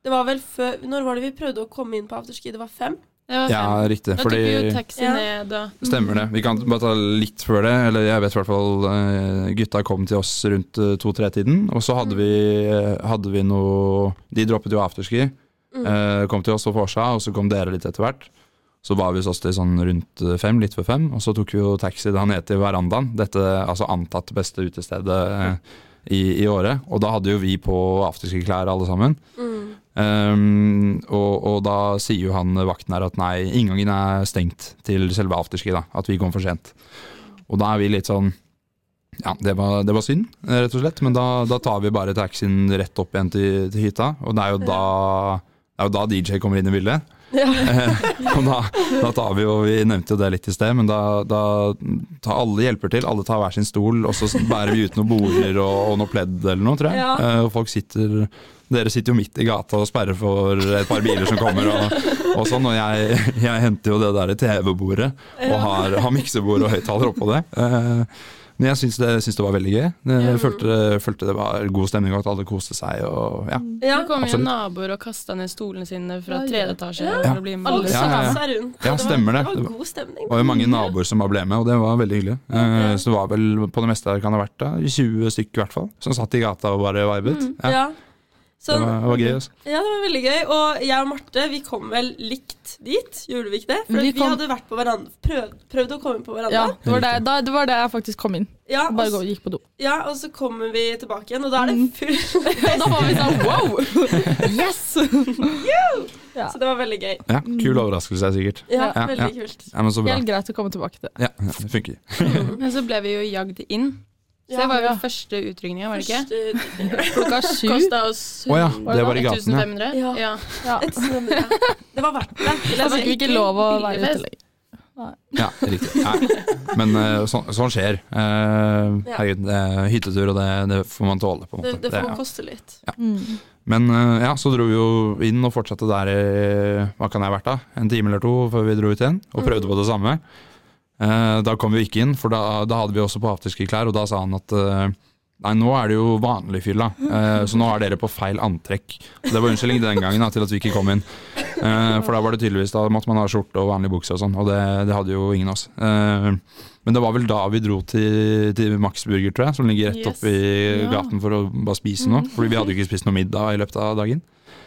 [SPEAKER 1] Det var vel før Når var det vi prøvde å komme inn på afterski? Det var fem?
[SPEAKER 3] Det var
[SPEAKER 2] Ja,
[SPEAKER 3] fint.
[SPEAKER 2] riktig.
[SPEAKER 3] Da tok vi jo
[SPEAKER 2] Fordi
[SPEAKER 3] taxi
[SPEAKER 1] Ja.
[SPEAKER 3] ned og
[SPEAKER 2] Stemmer det. Vi kan bare ta litt før det. Eller jeg vet i hvert fall eh, Gutta kom til oss rundt eh, to-tre-tiden. Og så hadde vi, eh, hadde vi noe De droppet jo afterski. eh, kom til oss på Forsa, og så kom dere litt etter hvert. Så var vi hos oss til sånn rundt eh, fem, litt før fem. Og så tok vi jo taxi da ned til verandaen. Dette altså antatt beste utestedet eh, i, i året. Og da hadde jo vi på afterski-klær alle sammen. Um, og, og da sier jo han eh, vakten her at nei, inngangen er stengt til selve afterski, da. At vi kom for sent. Og da er vi litt sånn Ja, det var, det var synd, eh, rett og slett. Men da, da tar vi bare taxien rett opp igjen til, til hytta. Og det er jo da det er jo da DJ kommer inn i bildet. Eh, og da, da tar vi jo Vi nevnte jo det litt i sted, men da, da tar alle hjelper til. Alle tar hver sin stol, og så bærer vi ut noen border og, og noe pledd eller noe, tror jeg.
[SPEAKER 1] Ja.
[SPEAKER 2] Eh, og folk sitter dere sitter jo midt i gata og sperrer for et par biler som kommer. Og, og sånn, og jeg, jeg henter jo det der TV-bordet og har, har miksebord og høyttaler oppå det. Eh, Men jeg syns det, syns det var veldig gøy. Eh, Jeg følte, følte det var god stemning, og at alle koste seg. Og, ja.
[SPEAKER 1] Ja.
[SPEAKER 3] Det kom jo
[SPEAKER 2] Absolutt.
[SPEAKER 3] naboer og kasta ned stolene sine fra
[SPEAKER 4] Ja,
[SPEAKER 3] tredje
[SPEAKER 4] ja.
[SPEAKER 3] etasje.
[SPEAKER 1] Ja.
[SPEAKER 3] for å bli med.
[SPEAKER 1] Alle
[SPEAKER 2] Ja, ja, ja.
[SPEAKER 1] seg rundt.
[SPEAKER 2] Ja, stemmer det.
[SPEAKER 1] Det
[SPEAKER 2] Det
[SPEAKER 1] var
[SPEAKER 2] var-
[SPEAKER 1] god stemning.
[SPEAKER 2] Det var jo mange naboer som bare ble med, og det var veldig hyggelig. Eh, Så det var vel på det meste her kan det ha vært da, 20 stykker i hvert fall, som satt i gata og bare vibet. Mm. Ja,
[SPEAKER 1] Ja.
[SPEAKER 2] det
[SPEAKER 1] Sånn,
[SPEAKER 2] var, det var gøy. Altså.
[SPEAKER 1] ja, det var veldig gøy. Og jeg og Marte vi kom vel likt dit, gjorde vi ikke det? For
[SPEAKER 4] Vi
[SPEAKER 1] vi,
[SPEAKER 4] kom-
[SPEAKER 1] hadde vært på hverandre, prøvd, prøvd å komme inn på
[SPEAKER 4] Ja,
[SPEAKER 1] hverandre.
[SPEAKER 4] det var der, da, det var der jeg faktisk kom inn.
[SPEAKER 1] Ja,
[SPEAKER 4] Bare
[SPEAKER 1] og,
[SPEAKER 4] gå- gikk på [laughs] do.
[SPEAKER 1] s- ja og så kommer vi tilbake igjen, og da er det full [laughs]
[SPEAKER 4] Og da var vi [laughs] sånn wow! Yes!
[SPEAKER 1] Så det var veldig gøy.
[SPEAKER 2] Ja, kul overraskelse sikkert.
[SPEAKER 1] Ja,
[SPEAKER 2] Ja,
[SPEAKER 1] veldig kult.
[SPEAKER 2] Mm. Ja, men så bra.
[SPEAKER 4] Helt greit å komme tilbake til.
[SPEAKER 2] Ja, ja, det funker.
[SPEAKER 3] Men så ble vi jo jagd inn. Så det var jo
[SPEAKER 4] Ja.
[SPEAKER 3] den første utrykninga, var det ikke?
[SPEAKER 1] Første-
[SPEAKER 4] Klokka sju.
[SPEAKER 3] Kosta oss
[SPEAKER 2] Å ja, det var i gaten, ja.
[SPEAKER 3] 1500.
[SPEAKER 1] Ja.
[SPEAKER 3] Ja.
[SPEAKER 4] Ja.
[SPEAKER 1] Et sånt- ja. Det var verdt det. vil jeg
[SPEAKER 4] Da fikk
[SPEAKER 1] si.
[SPEAKER 4] vi Altså, ikke lov å være
[SPEAKER 3] billigfest.
[SPEAKER 4] ute lenger.
[SPEAKER 2] ja riktig. Nei. Men eh, sånn, sånn skjer. Eh,
[SPEAKER 1] Ja.
[SPEAKER 2] herregud, det er hyttetur, og det, det får man tåle, på en
[SPEAKER 1] Det,
[SPEAKER 2] måte.
[SPEAKER 1] det
[SPEAKER 2] Det-
[SPEAKER 1] får
[SPEAKER 2] ja.
[SPEAKER 1] koste litt.
[SPEAKER 4] Mm.
[SPEAKER 2] Men eh, ja, så dro vi jo inn og fortsatte der i hva kan jeg ha vært da, en time eller to før vi dro ut igjen, og prøvde på det samme. Eh, Da kom vi ikke inn, for da, da hadde vi også på afterski-klær, og da sa han at eh, nei, nå er det jo vanlig fylla, eh, så nå er dere på feil antrekk. Og Det var unnskyldning den gangen da, til at vi ikke kom inn. Eh, For da var det tydeligvis, da måtte man ha skjorte og vanlig bukse og sånn, og det, det hadde jo ingen av oss. Eh, Men det var vel da vi dro til, til Max Burger, tror jeg, som ligger rett
[SPEAKER 3] Yes.
[SPEAKER 2] opp i
[SPEAKER 3] Ja.
[SPEAKER 2] gaten for å bare spise noe, fordi vi hadde jo ikke spist noe middag i løpet av dagen.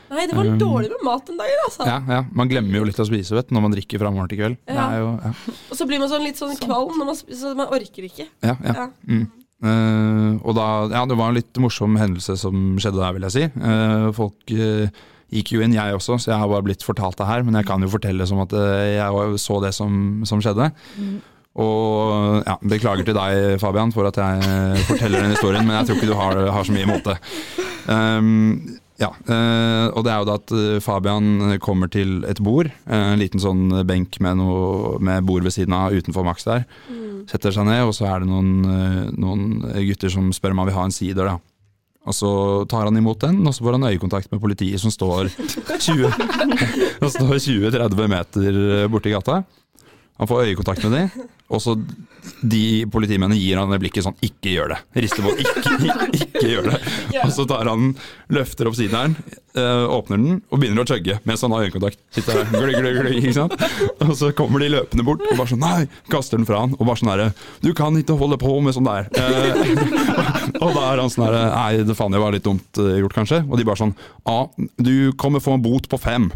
[SPEAKER 1] Nei, det var
[SPEAKER 2] Um,
[SPEAKER 1] dårlig med mat den dagen, altså.
[SPEAKER 2] Ja, ja. Man glemmer jo litt å spise vet, du, når man drikker fra morgen til kveld. Det
[SPEAKER 1] Ja.
[SPEAKER 2] er jo, ja.
[SPEAKER 1] Og så blir man sånn litt sånn kvalm, når man, sp- så man orker ikke.
[SPEAKER 2] Ja, ja.
[SPEAKER 1] Ja.
[SPEAKER 2] Mm. Eh, og da, ja, det var en litt morsom hendelse som skjedde der, vil jeg si. Eh, folk eh, gikk jo inn, jeg også, så jeg har bare blitt fortalt det her. Men jeg kan jo fortelle som at eh, jeg var- så det som, som skjedde. Og ja, beklager til deg, Fabian, for at jeg eh, forteller den historien, men jeg tror ikke du har, har så mye imot det. Ehm, ja, eh, og det er jo da at eh, Fabian kommer til et bord, eh, en liten sånn benk med, noe, med bord ved siden av utenfor Max der. Setter seg ned, og så er det noen, eh, noen gutter som spør om han vil ha en sider. da. Og så tar han imot den, og så får han øyekontakt med politiet som står 20 [laughs] som står 20-30 meter borti gata. Han får øyekontakt med de, og så de politimennene gir han det blikket sånn 'ikke gjør det'. Rister på 'ikke, ikke gjør det'. Og så tar han, løfter opp sideren, eh, åpner den og begynner å chugge mens han har øyekontakt. Sitter der, gløgg, gløgg, gløgg, ikke sant? Og så kommer de løpende bort og bare sånn nei, kaster den fra han og bare sånn herre Du kan ikke holde på med sånn der. Eh, [laughs] og da er han sånn herre Nei, det faen, det var litt dumt eh, gjort, kanskje. Og de bare sånn Ja, du kommer få en bot på fem.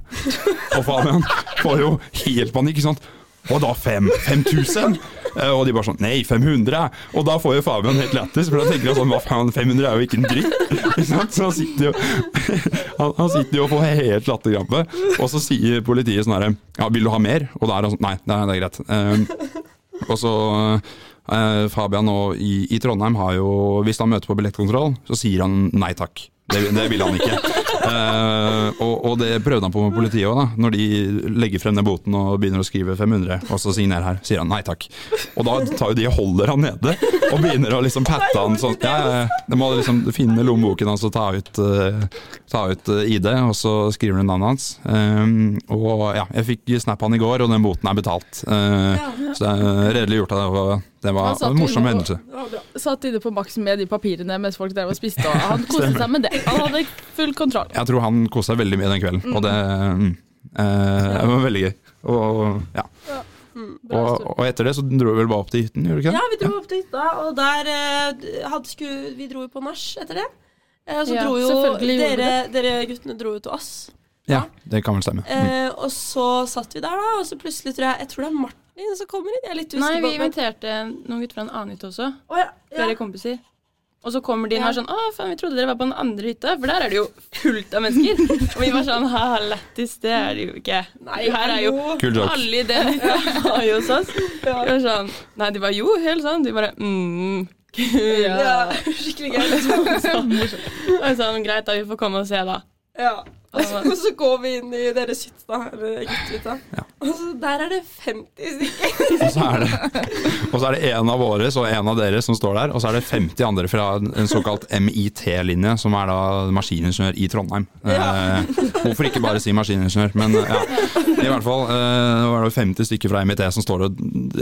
[SPEAKER 2] Og Fabian får jo helt panikk, ikke sant. Og da fem? 5000? Eh, Og de bare sånn Nei, 500! Og da får jo Fabian helt lættis, for da tenker han sånn Hva faen, 500 er jo ikke en dritt! Ikke sant? Så han sitter jo [laughs] han, han sitter jo og får helt latterkrampe. Og så sier politiet sånn herre Ja, vil du ha mer? Og da er han sånn Nei, nei, det er greit. Eh, og så eh, Fabian og i, i Trondheim har jo Hvis han møter på billettkontroll, så sier han nei takk. Det, det vil han ikke. Eh, og, og det prøvde han på med politiet òg, da. Når de legger frem den boten og begynner å skrive 500, og så signer her, sier han nei takk. Og da tar jo de og holder han nede, og begynner å liksom patte han sånn. Ja, ja, ja. de må liksom finne lommeboken hans og ta ut, eh, ta ut eh, ID, og så skriver de navnet hans. Eh, og ja, jeg fikk snap han i går, og den boten er betalt. Eh, Så det er redelig gjort av deg. Fabian. Det
[SPEAKER 4] Han
[SPEAKER 2] var
[SPEAKER 4] satt
[SPEAKER 2] en morsom
[SPEAKER 4] inne og-
[SPEAKER 2] hendelse.
[SPEAKER 1] Det var bra.
[SPEAKER 4] Satt inne på Max med de papirene mens folk drev og spiste, og han koste seg med det. Han hadde full kontroll.
[SPEAKER 2] Jeg tror han koste seg veldig mye den kvelden, og det mm, eh, det var veldig gøy. Og, ja.
[SPEAKER 4] Bra
[SPEAKER 2] og,
[SPEAKER 4] historie.
[SPEAKER 2] og etter det så dro vi vel bare opp til hytten, gjorde vi ikke
[SPEAKER 1] Ja,
[SPEAKER 2] det?
[SPEAKER 1] vi dro opp til hytta, og der eh, hadde sku, Vi dro jo på nach etter det. Eh, Og så
[SPEAKER 3] Ja,
[SPEAKER 1] dro jo
[SPEAKER 4] selvfølgelig gjorde
[SPEAKER 1] dere, dere guttene dro jo til oss.
[SPEAKER 2] Ja, det kan vel stemme. Mm.
[SPEAKER 1] Eh, og så satt vi der, da, og så plutselig tror jeg Jeg tror det er Martin som kommer inn. Jeg er litt
[SPEAKER 3] Nei,
[SPEAKER 1] usikker
[SPEAKER 3] vi
[SPEAKER 1] på men-
[SPEAKER 3] inviterte noen gutter fra en annen hytte også.
[SPEAKER 1] Å, ja, ja.
[SPEAKER 3] Flere kompiser. Og så kommer de inn
[SPEAKER 1] Ja.
[SPEAKER 3] og er sånn Å, faen, vi trodde dere var på den andre hytta, for der er det jo fullt av
[SPEAKER 1] [laughs]
[SPEAKER 3] mennesker. Og vi var sånn Ha, lættis, det er det jo ikke.
[SPEAKER 1] Nei,
[SPEAKER 3] her er jo
[SPEAKER 1] hallo.
[SPEAKER 2] Kul joke.
[SPEAKER 3] alle i den hytta [laughs] var jo hos oss. Vi var sånn Nei, de var jo helt sånn. De bare mm. Kul.
[SPEAKER 1] ja, Skikkelig gøy. liksom.
[SPEAKER 3] [laughs] Og sånn, greit, da, vi får komme og se, da.
[SPEAKER 1] Ja. Og så, og så går vi inn i deres hytta, eller guttehytta,
[SPEAKER 2] Ja.
[SPEAKER 1] eh, og så der er det 50 stykker.
[SPEAKER 2] Og så er det, [laughs] og så er det en av våre og en av dere som står der, og så er det 50 andre fra en en såkalt MIT-linje, som er da maskiningeniør i Trondheim. Eh, hvorfor ikke bare si maskiningeniør, men eh, ja. I hvert fall eh, var det 50 stykker fra MIT som står og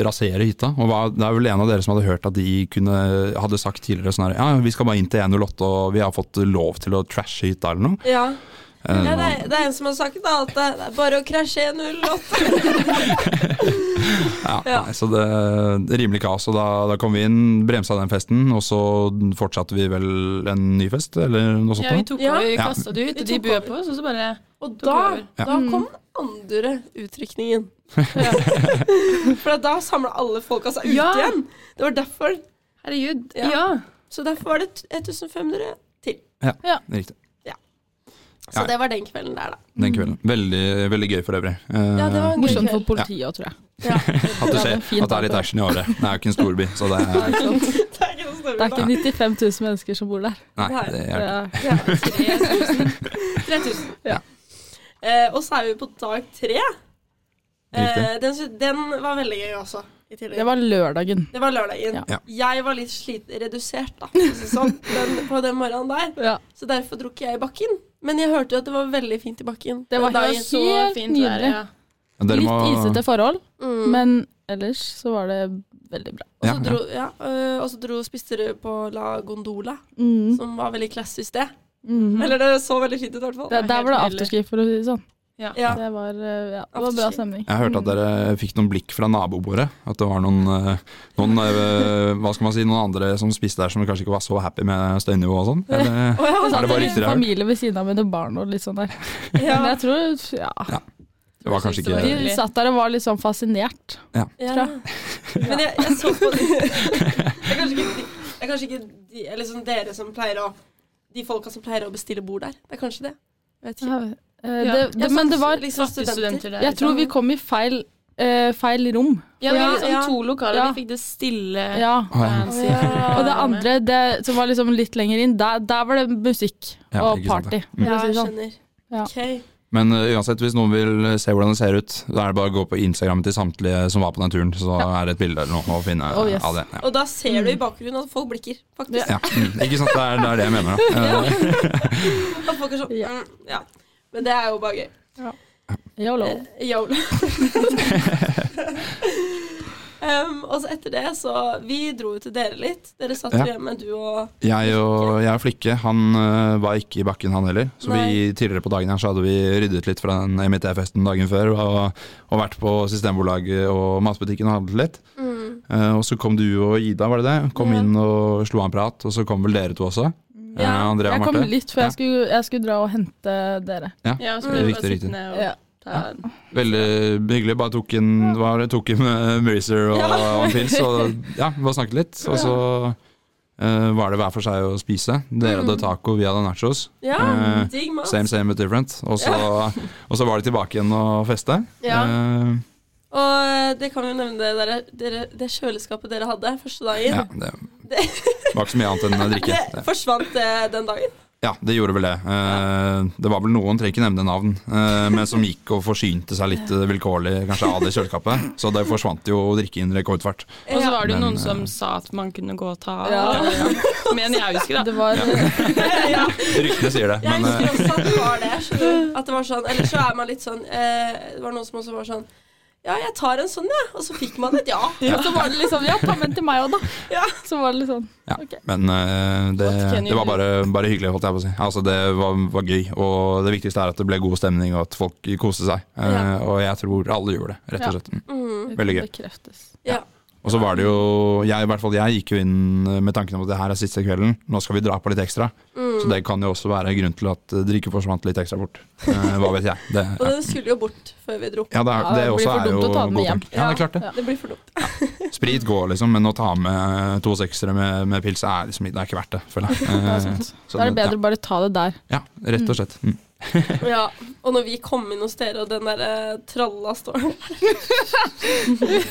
[SPEAKER 2] raserer hytta. Og hva, det er vel en av dere som hadde hørt at de kunne, hadde sagt tidligere sånn her Ja, vi skal bare inn til 108, og vi har fått lov til å trashe hytta eller noe.
[SPEAKER 1] Ja.
[SPEAKER 2] Eh,
[SPEAKER 1] Ja, det, er, det er en som har sagt da, at det er- det er bare å krasje 108.
[SPEAKER 2] Ja,
[SPEAKER 1] Ja.
[SPEAKER 2] Nei, så det det er rimelig kaos. Og da, da kom vi inn, bremsa den festen, og så fortsatte vi vel en ny fest, eller noe sånt.
[SPEAKER 3] Ja, vi
[SPEAKER 2] da.
[SPEAKER 3] tok
[SPEAKER 1] Ja.
[SPEAKER 3] over, vi
[SPEAKER 2] Ja.
[SPEAKER 3] kasta det ut,
[SPEAKER 1] Vi
[SPEAKER 3] og de
[SPEAKER 1] tok
[SPEAKER 3] bød
[SPEAKER 1] over.
[SPEAKER 3] på oss, og så bare
[SPEAKER 1] Og
[SPEAKER 3] Tok
[SPEAKER 1] da,
[SPEAKER 3] over.
[SPEAKER 2] Ja.
[SPEAKER 1] da kom den andre utrykningen. [laughs] For da samla alle folka seg ut
[SPEAKER 3] Ja.
[SPEAKER 1] igjen. Det var derfor.
[SPEAKER 3] Herregud.
[SPEAKER 1] Ja.
[SPEAKER 3] Ja.
[SPEAKER 1] Så derfor var det eh, 1500 til.
[SPEAKER 2] Riktig.
[SPEAKER 1] Så
[SPEAKER 2] Ja.
[SPEAKER 1] det var den kvelden der, da.
[SPEAKER 2] Den kvelden. Veldig, veldig gøy for øvrig. Eh,
[SPEAKER 1] Ja, det var en gøy
[SPEAKER 4] Morsomt for
[SPEAKER 1] kveld.
[SPEAKER 4] politiet òg, tror jeg.
[SPEAKER 2] at det
[SPEAKER 4] det er
[SPEAKER 2] skjer.
[SPEAKER 4] en fin
[SPEAKER 2] At det er litt
[SPEAKER 4] dag.
[SPEAKER 2] action i året. Det er jo ikke en storby, så det er
[SPEAKER 1] Det er ikke noe større
[SPEAKER 4] Det er ikke 95 000 mennesker som bor der.
[SPEAKER 2] Nei, det
[SPEAKER 4] Det
[SPEAKER 2] er
[SPEAKER 4] er,
[SPEAKER 1] Ja, 3000. 3000.
[SPEAKER 4] Ja.
[SPEAKER 1] Eh, og så er vi på dag tre. Eh,
[SPEAKER 2] Riktig.
[SPEAKER 1] den, sy- den var veldig gøy også. I tillegg.
[SPEAKER 4] det var lørdagen.
[SPEAKER 1] Det var lørdagen.
[SPEAKER 2] Ja.
[SPEAKER 1] Jeg var litt slit redusert da, for å si det sånn,
[SPEAKER 4] [laughs]
[SPEAKER 1] den, på den morgenen der.
[SPEAKER 4] Ja.
[SPEAKER 1] Så derfor dro ikke jeg i bakken. Men jeg hørte jo at det var veldig fint i bakken.
[SPEAKER 4] Det var
[SPEAKER 1] den dagen.
[SPEAKER 4] helt
[SPEAKER 3] Så fint vær.
[SPEAKER 4] nydelig.
[SPEAKER 3] Ja.
[SPEAKER 2] Dere må
[SPEAKER 4] Litt isete forhold,
[SPEAKER 1] Mm.
[SPEAKER 4] men ellers så var det veldig bra.
[SPEAKER 1] Og
[SPEAKER 2] ja,
[SPEAKER 1] så
[SPEAKER 2] ja.
[SPEAKER 1] dro, ja, øh, og så dro spiste dere på La Gondola,
[SPEAKER 4] Mm.
[SPEAKER 1] som var veldig klassisk det.
[SPEAKER 4] Mhm.
[SPEAKER 1] Eller det så veldig fint ut i hvert fall.
[SPEAKER 4] Der, der var det
[SPEAKER 3] Helt nydelig.
[SPEAKER 4] afterski, for å si det sånn.
[SPEAKER 1] Ja.
[SPEAKER 4] Det var, eh, ja, det var bra
[SPEAKER 1] Afterski.
[SPEAKER 4] stemning. Mm.
[SPEAKER 2] Jeg hørte at dere fikk noen blikk fra nabobordet. At det var noen, eh, noen, eh, hva skal man si, noen andre som spiste der som kanskje ikke var så happy med støynivået og sånn. Eller-
[SPEAKER 1] Å ja,
[SPEAKER 2] Er det bare rykter
[SPEAKER 4] en
[SPEAKER 2] jeg har hørt?
[SPEAKER 4] Familie ved siden av mine barn og litt sånn der.
[SPEAKER 1] sånn- ja,
[SPEAKER 4] Men jeg tror ja,
[SPEAKER 2] Det var kanskje
[SPEAKER 3] Ja.
[SPEAKER 2] ikke
[SPEAKER 4] de satt der og var litt sånn fascinert.
[SPEAKER 1] ja. [laughs] Men jeg, jeg så på de [laughs] Det er kanskje ikke, de, det er kanskje ikke de, eller sånn dere som pleier å De folka som pleier å bestille bord der. Det er kanskje det. Jeg vet ikke.
[SPEAKER 4] Eh,
[SPEAKER 3] Ja.
[SPEAKER 4] Det, det, men det var
[SPEAKER 1] liksom
[SPEAKER 3] Studenter der.
[SPEAKER 4] Jeg tror vi kom i feil, eh, feil rom.
[SPEAKER 3] Ja, det var
[SPEAKER 1] Ja,
[SPEAKER 3] liksom
[SPEAKER 1] ja.
[SPEAKER 3] to lokaler.
[SPEAKER 4] Ja.
[SPEAKER 3] Vi fikk det stille.
[SPEAKER 4] Ja.
[SPEAKER 2] Å,
[SPEAKER 3] fancy.
[SPEAKER 1] Ja.
[SPEAKER 4] Og det andre, det, som var liksom litt lenger inn, der, der var det musikk
[SPEAKER 2] Ja,
[SPEAKER 4] og
[SPEAKER 2] ikke sant
[SPEAKER 4] party.
[SPEAKER 2] det.
[SPEAKER 4] for
[SPEAKER 1] Ja,
[SPEAKER 4] å
[SPEAKER 1] jeg
[SPEAKER 4] si det sånn.
[SPEAKER 1] skjønner.
[SPEAKER 4] Ja.
[SPEAKER 1] Ok.
[SPEAKER 2] Men eh, uansett, hvis noen vil se hvordan det ser ut, da er det bare å gå på Instagram til samtlige som var på den turen, så er det et bilde eller noe å finne
[SPEAKER 4] Oh, yes.
[SPEAKER 2] av det. Ja.
[SPEAKER 1] Og da ser du i bakgrunnen at folk blikker, faktisk.
[SPEAKER 2] Ja. Mm, ikke sant, det er, det er det jeg mener.
[SPEAKER 4] [laughs]
[SPEAKER 2] Da.
[SPEAKER 1] [laughs]
[SPEAKER 2] Eh,
[SPEAKER 1] At folk er sånn
[SPEAKER 4] Ja.
[SPEAKER 1] mm, ja. Men det er jo bare gøy.
[SPEAKER 4] Yolo.
[SPEAKER 1] Eh, Yolo. [laughs] um, og så etter det, så Vi dro jo til dere litt. Dere satt
[SPEAKER 2] Ja.
[SPEAKER 1] jo hjemme, du og
[SPEAKER 2] Jeg og, jeg og Flikke han eh, var ikke i bakken, han heller. Så vi,
[SPEAKER 1] Nei.
[SPEAKER 2] tidligere på dagen her så hadde vi ryddet litt fra den MIT-festen dagen før og, og vært på Systembolaget og matbutikken og handlet litt.
[SPEAKER 1] Mm.
[SPEAKER 2] Eh, og så kom du og Ida, var det det? Kom
[SPEAKER 1] Ja.
[SPEAKER 2] inn og slo av en prat, og så kom vel dere to også? Eh,
[SPEAKER 1] Ja,
[SPEAKER 2] Andrea
[SPEAKER 4] Jeg
[SPEAKER 2] og
[SPEAKER 4] kom
[SPEAKER 2] Marte.
[SPEAKER 4] litt før jeg skulle, jeg skulle dra og hente dere.
[SPEAKER 3] Ja, så
[SPEAKER 1] Mm.
[SPEAKER 3] ble vi
[SPEAKER 2] Riktig,
[SPEAKER 3] bare
[SPEAKER 2] riktig.
[SPEAKER 3] sittende og
[SPEAKER 4] Ja.
[SPEAKER 3] ta
[SPEAKER 2] Veldig hyggelig. Bare tok en, hva var det, tok en eh, Mercer og, og en pils
[SPEAKER 1] [laughs]
[SPEAKER 2] og ja, bare snakket litt. Og så eh, var det hver for seg å spise. Dere
[SPEAKER 1] Mm.
[SPEAKER 2] hadde taco, vi hadde nachos.
[SPEAKER 1] Ja,
[SPEAKER 2] Eh,
[SPEAKER 1] digg mat.
[SPEAKER 2] Same, same but different. Og så, [laughs] og så var det tilbake igjen og feste.
[SPEAKER 1] Ja.
[SPEAKER 2] Eh,
[SPEAKER 1] Og eh, det kan vi jo nevne det, dere, dere, det kjøleskapet dere hadde første dagen.
[SPEAKER 2] ja,
[SPEAKER 1] [laughs]
[SPEAKER 2] det var ikke så mye annet enn å drikke.
[SPEAKER 1] Det forsvant eh, den dagen.
[SPEAKER 2] Ja, det gjorde vel det. Eh, det var vel noen, trenger ikke nevne navn, eh, men som gikk og forsynte seg litt eh, vilkårlig kanskje av det kjøleskapet. Så det forsvant jo å drikke innen rekordfart.
[SPEAKER 3] Og så
[SPEAKER 1] Ja.
[SPEAKER 3] var det jo
[SPEAKER 2] Men,
[SPEAKER 3] noen
[SPEAKER 2] eh,
[SPEAKER 3] som sa at man kunne gå og ta av.
[SPEAKER 4] Ja.
[SPEAKER 3] [laughs] Men
[SPEAKER 1] [laughs]
[SPEAKER 3] jeg husker
[SPEAKER 4] Det
[SPEAKER 3] da.
[SPEAKER 4] var
[SPEAKER 1] ja.
[SPEAKER 2] Ryktene sier det,
[SPEAKER 1] Jeg
[SPEAKER 2] men eh,
[SPEAKER 1] husker også at det var det. skjønner
[SPEAKER 2] [laughs]
[SPEAKER 1] du? At det var sånn, Eller så er man litt sånn eh, Det var noen som også var sånn Ja, jeg tar en sånn, jeg. Ja. Og så fikk man
[SPEAKER 2] [laughs]
[SPEAKER 1] et ja.
[SPEAKER 4] Og så var det liksom [laughs] Ja, ta med den til meg òg, da.
[SPEAKER 1] Ja.
[SPEAKER 4] Så var det litt sånn
[SPEAKER 2] Ja,
[SPEAKER 4] Ok.
[SPEAKER 2] men eh,
[SPEAKER 3] What
[SPEAKER 2] det,
[SPEAKER 3] can you
[SPEAKER 2] det var
[SPEAKER 3] do?
[SPEAKER 2] bare, bare hyggelig, holdt jeg på å si. Altså, det var, var gøy, og det viktigste er at det ble god stemning, og at folk koste seg. Eh,
[SPEAKER 1] Ja.
[SPEAKER 2] Og jeg tror alle gjorde det, rett
[SPEAKER 4] Ja.
[SPEAKER 2] og slett. Mm.
[SPEAKER 1] Mm.
[SPEAKER 2] Veldig gøy.
[SPEAKER 4] Bekreftes.
[SPEAKER 1] ja.
[SPEAKER 2] Og så var det jo jeg, i hvert fall jeg gikk jo inn med tanken om at det her er siste kvelden, nå skal vi dra på litt ekstra.
[SPEAKER 1] mm.
[SPEAKER 2] Så det kan jo også være grunn til at eh, drikke forsvant litt ekstra bort. Eh, hva vet jeg. Det,
[SPEAKER 4] [laughs]
[SPEAKER 1] Og den skulle jo bort før vi dro.
[SPEAKER 2] ja, det, er,
[SPEAKER 4] Ja,
[SPEAKER 2] det,
[SPEAKER 4] det blir
[SPEAKER 2] også
[SPEAKER 4] for
[SPEAKER 2] er jo
[SPEAKER 4] dumt å ta
[SPEAKER 2] god
[SPEAKER 4] den med hjem.
[SPEAKER 2] tanke. Ja, det er klart det.
[SPEAKER 1] Det blir for dumt.
[SPEAKER 2] Sprit går, liksom, men å ta med to seksere med, med
[SPEAKER 4] [laughs]
[SPEAKER 2] pils er liksom, det er ikke verdt det, føler jeg. Eh,
[SPEAKER 4] Da er det
[SPEAKER 2] ja.
[SPEAKER 4] bedre å bare ta det der.
[SPEAKER 2] Ja, rett og slett. Mm.
[SPEAKER 1] Ja, og når vi kom inn hos dere, og den der eh, tralla står
[SPEAKER 2] [laughs] Nei,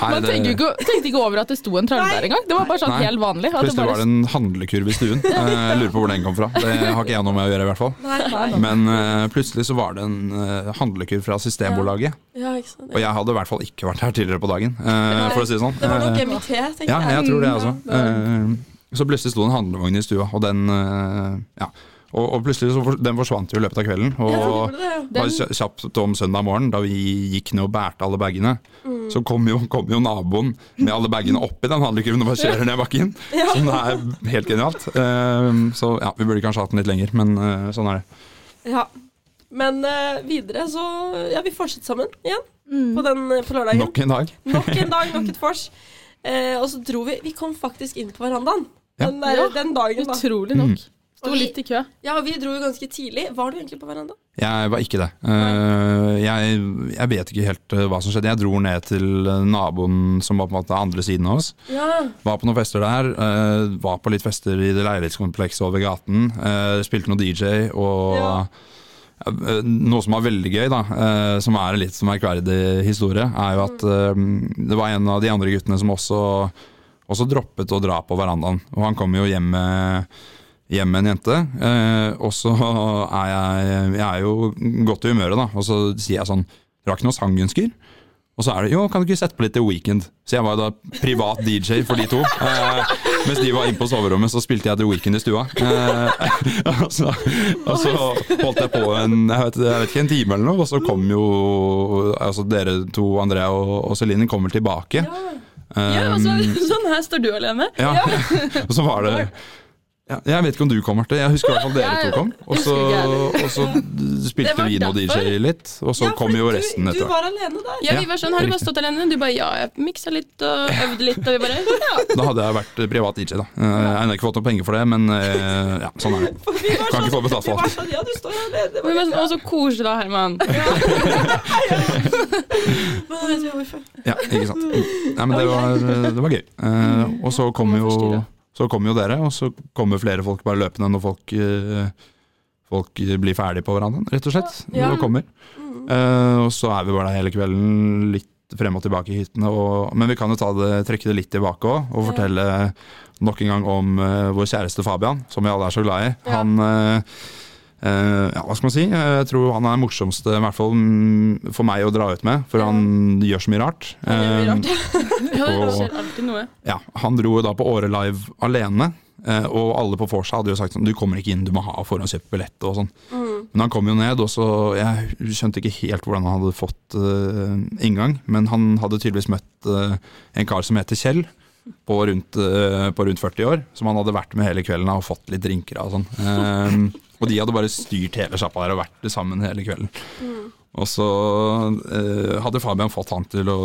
[SPEAKER 4] Man
[SPEAKER 2] det-
[SPEAKER 4] tenker jo ikke, tenkte ikke over at det sto en tralle der engang. Det var bare sånn
[SPEAKER 2] Nei.
[SPEAKER 4] helt vanlig. At det
[SPEAKER 2] Plutselig var
[SPEAKER 4] bare,
[SPEAKER 2] det en handlekurv i stuen. Eh, Jeg lurer på hvor den kom fra. Det har ikke jeg noe med å gjøre, i hvert fall.
[SPEAKER 1] Nei, nei.
[SPEAKER 2] Men eh, plutselig så var det en eh, handlekurv fra Systembolaget.
[SPEAKER 1] Ja, ikke sant.
[SPEAKER 2] Og jeg hadde i hvert fall ikke vært her tidligere på dagen, eh, for å si det sånn.
[SPEAKER 1] Det var nok
[SPEAKER 2] Eh,
[SPEAKER 1] MIT, tenker
[SPEAKER 2] Ja, jeg tror det,
[SPEAKER 1] Mm,
[SPEAKER 2] altså. Eh, Så plutselig sto det en handlevogn i stua, og den eh, Ja. Og, og plutselig så for, den forsvant jo i løpet av kvelden.
[SPEAKER 1] Ja, det gjorde
[SPEAKER 2] Og
[SPEAKER 1] det, ja.
[SPEAKER 2] bare
[SPEAKER 4] Den-
[SPEAKER 2] kja- kjapt om søndag morgen, da vi gikk ned og bærte alle bagene, så kom jo, kom jo naboen med alle bagene oppi den handlekurven og bare kjører ned bakken. Som det er helt genialt. Eh, Så ja, vi burde kanskje hatt den litt lenger, men eh, sånn er det.
[SPEAKER 1] Ja. Men eh, videre så Ja, vi fortsetter sammen igjen
[SPEAKER 5] Mm.
[SPEAKER 1] på, den, eh, på lørdagen.
[SPEAKER 2] Nok en dag.
[SPEAKER 1] Nok
[SPEAKER 2] [laughs]
[SPEAKER 1] en dag, nok et vors. Eh, og så dro vi Vi kom faktisk inn på verandaen
[SPEAKER 2] Ja.
[SPEAKER 1] den, der,
[SPEAKER 4] Ja.
[SPEAKER 1] den dagen. da
[SPEAKER 4] Utrolig nok. Sto
[SPEAKER 1] Og vi-
[SPEAKER 4] litt i kø.
[SPEAKER 2] Mm.
[SPEAKER 1] Ja, vi dro jo ganske tidlig. Var du egentlig på verandaen?
[SPEAKER 2] Jeg var ikke det. Eh, jeg, jeg vet ikke helt eh, hva som skjedde. Jeg dro ned til eh, naboen som var på en måte andre siden av oss.
[SPEAKER 1] Ja.
[SPEAKER 2] Var på noen fester der. eh, var på litt fester i det leilighetskomplekset over gaten. eh, spilte noe DJ og
[SPEAKER 1] Ja.
[SPEAKER 2] Eh, Noe som var veldig gøy, da, eh, som er en litt merkverdig historie, er jo at eh, det var en av de andre guttene som også, også droppet å dra på verandaen. Og han kom jo hjem med, hjem med en jente. eh, Og så er jeg, jeg er jo godt i humøret, da, og så sier jeg sånn Dere har ikke noen sangønsker? Og så er det jo, kan du ikke sette på litt The Weekend? Så jeg var jo da privat DJ for de to. Eh, mens de var inne på soverommet, så spilte jeg The Weekend i stua. Eh, [laughs] og, så, og så holdt jeg på en, jeg vet, jeg vet ikke, en time eller noe, og så kom jo altså dere to, Andrea og, og Celine, kommer tilbake. Eh,
[SPEAKER 3] Ja, og så, sånn her står du alene.
[SPEAKER 2] ja. [laughs] og så var det ja, Jeg vet ikke om du kom, Marte. Jeg husker i hvert fall dere to kom. Og så, og så
[SPEAKER 3] Det var
[SPEAKER 2] spilte vi noe
[SPEAKER 3] derfor.
[SPEAKER 2] DJ litt, og
[SPEAKER 1] ja,
[SPEAKER 2] så kom
[SPEAKER 1] fordi
[SPEAKER 2] jo
[SPEAKER 1] du-
[SPEAKER 2] resten
[SPEAKER 1] Du
[SPEAKER 2] etter hvert.
[SPEAKER 1] var alene der.
[SPEAKER 3] Ja,
[SPEAKER 2] Ja,
[SPEAKER 3] vi var sånn, Har du bare
[SPEAKER 2] riktig.
[SPEAKER 3] stått alene? Du bare ja, jeg miksa litt og øvde litt. Og vi bare ja.
[SPEAKER 2] Da hadde jeg vært privat DJ, da. Eh, Jeg har ikke fått noe penger for det, men eh, ja, sånn er det.
[SPEAKER 1] For vi var
[SPEAKER 2] Kan ikke få
[SPEAKER 1] vi
[SPEAKER 2] betalt for
[SPEAKER 1] var
[SPEAKER 2] alt.
[SPEAKER 1] sånn Ja, du står alene. Det
[SPEAKER 3] Og
[SPEAKER 1] var
[SPEAKER 3] vi var
[SPEAKER 1] litt,
[SPEAKER 3] sånn, å, så koselig da, Herman.
[SPEAKER 1] men da vet vi hvorfor.
[SPEAKER 2] Ja, ikke sant. Nei, men det var, det var gøy. Eh,
[SPEAKER 1] Mm.
[SPEAKER 2] og så kom
[SPEAKER 3] man
[SPEAKER 2] jo,
[SPEAKER 3] forstyrre.
[SPEAKER 2] så kom jo dere, og så kommer flere folk bare løpende når folk, eh, folk blir ferdige på verandaen, rett og slett.
[SPEAKER 1] Ja.
[SPEAKER 2] Og kommer.
[SPEAKER 1] Mm.
[SPEAKER 2] Eh, og så er vi bare der hele kvelden, litt frem og tilbake i hyttene. Og, men vi kan jo ta det, trekke det litt tilbake òg, og
[SPEAKER 1] Ja.
[SPEAKER 2] fortelle nok en gang om eh, vår kjæreste Fabian, som vi alle er så glad i.
[SPEAKER 1] Ja.
[SPEAKER 2] Han eh, eh, ja, hva skal man si? Eh, Jeg tror han er den morsomste, i hvert fall mm, for meg, å dra ut med. For
[SPEAKER 1] Ja.
[SPEAKER 2] han gjør så mye rart.
[SPEAKER 1] Det blir
[SPEAKER 2] Eh,
[SPEAKER 1] rart.
[SPEAKER 3] Ja, det
[SPEAKER 2] Og-
[SPEAKER 3] skjer alltid noe.
[SPEAKER 2] ja, han dro jo da på Åre Live alene, eh, og alle på Forsa hadde jo sagt sånn, du kommer ikke inn, du må ha forhåndskjøpt billett og sånn.
[SPEAKER 1] Mm.
[SPEAKER 2] Men han kom jo ned, og så jeg skjønte ikke helt hvordan han hadde fått eh, inngang, men han hadde tydeligvis møtt eh, en kar som heter Kjell, på rundt, eh, på rundt 40 år, som han hadde vært med hele kvelden og fått litt drinker av og sånn. Eh, [laughs] og de hadde bare styrt hele sjappa der og vært sammen hele kvelden. Og så eh, hadde Fabian fått han til å,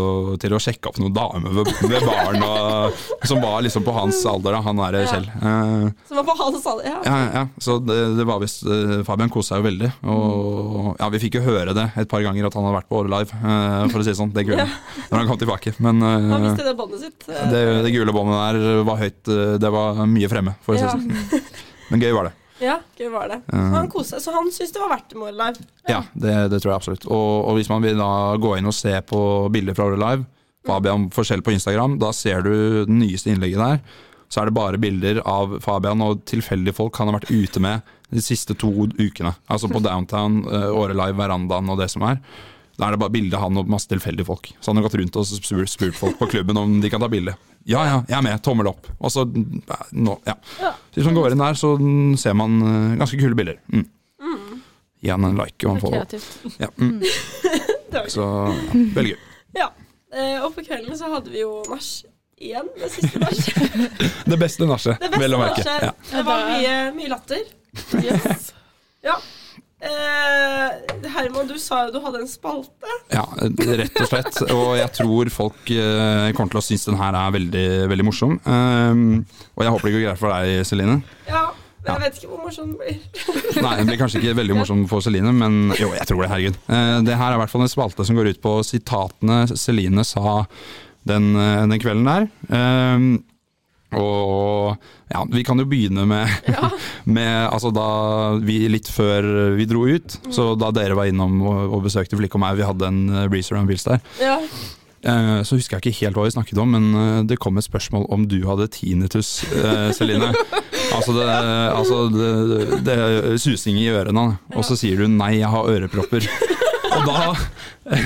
[SPEAKER 2] til å sjekke opp noen damer ved, ved baren, og, som var liksom på hans alder, da, han der
[SPEAKER 1] Ja.
[SPEAKER 2] Kjell. Eh,
[SPEAKER 1] Som var på hans alder. Ja.
[SPEAKER 2] ja, ja, ja. Så det, det var visst eh, Fabian kosa seg jo veldig. Og ja, vi fikk jo høre det et par ganger at han hadde vært på Åre Live, eh, for å si det sånn, den kvelden. Når han kom tilbake. Men eh,
[SPEAKER 1] Han visste det båndet sitt. eh,
[SPEAKER 2] det, det gule båndet der var høyt. eh, det var mye fremme, for å si
[SPEAKER 1] ja.
[SPEAKER 2] det sånn. Men gøy var det.
[SPEAKER 1] ja, gøy var det.
[SPEAKER 2] Eh,
[SPEAKER 1] Han koste seg, så han syntes det var verdt det med Åre Live.
[SPEAKER 2] ja, det, det tror jeg absolutt. Og, og hvis man vil da gå inn og se på bilder fra Åre Live, Fabian forskjell på Instagram, da ser du det nyeste innlegget der. Så er det bare bilder av Fabian og tilfeldige folk han har vært ute med de siste to ukene. Altså på Downtown, eh, Åre Live, verandaen og det som er. Da er det bare bilde av han og masse tilfeldige folk. Så han har gått rundt og spurt, spurt folk på klubben om de kan ta bilde. Ja ja, jeg er med, tommel opp. Og så eh, nå, ja. Så hvis man går inn der, så mm, ser man eh, ganske kule bilder. Mm. Gi han en like, og han får
[SPEAKER 4] Kreativt.
[SPEAKER 2] ja, mm.
[SPEAKER 1] Det var gøy.
[SPEAKER 2] Så ja, veldig gøy.
[SPEAKER 1] Eh, og på kvelden så hadde vi jo nach igjen. Det siste nach.
[SPEAKER 2] Det beste nachet,
[SPEAKER 1] Det beste
[SPEAKER 2] [laughs] vel å merke.
[SPEAKER 1] nachet.
[SPEAKER 2] Ja.
[SPEAKER 1] Det var mye, mye latter.
[SPEAKER 4] Yes.
[SPEAKER 1] Eh, Herman, du sa jo du hadde en spalte.
[SPEAKER 2] Ja, rett og slett. Og jeg tror folk eh, kommer til å synes den her er veldig, veldig morsom. Ehm, og jeg håper det går greit for deg, Celine.
[SPEAKER 1] Ja, men
[SPEAKER 2] Ja.
[SPEAKER 1] jeg vet ikke hvor morsom den blir.
[SPEAKER 2] [laughs] Nei, den blir kanskje ikke veldig morsom for Celine, men jo, jeg tror det. Herregud. Eh, det her er i hvert fall en spalte som går ut på sitatene Celine sa den, eh, den kvelden der. Ehm, Og ja, vi kan jo begynne med, [laughs] med altså da vi litt før vi dro ut, så da dere var innom og, og besøkte Flikke og meg, vi hadde en eh, breeze around Bills der,
[SPEAKER 1] Ja.
[SPEAKER 2] eh, så husker jeg ikke helt hva vi snakket om, men eh, det kom et spørsmål om du hadde tinnitus, eh,
[SPEAKER 1] [laughs]
[SPEAKER 2] Celine. Altså, det, altså det, det er susing i ørene, og så sier du 'nei, jeg har ørepropper'. Og da [laughs]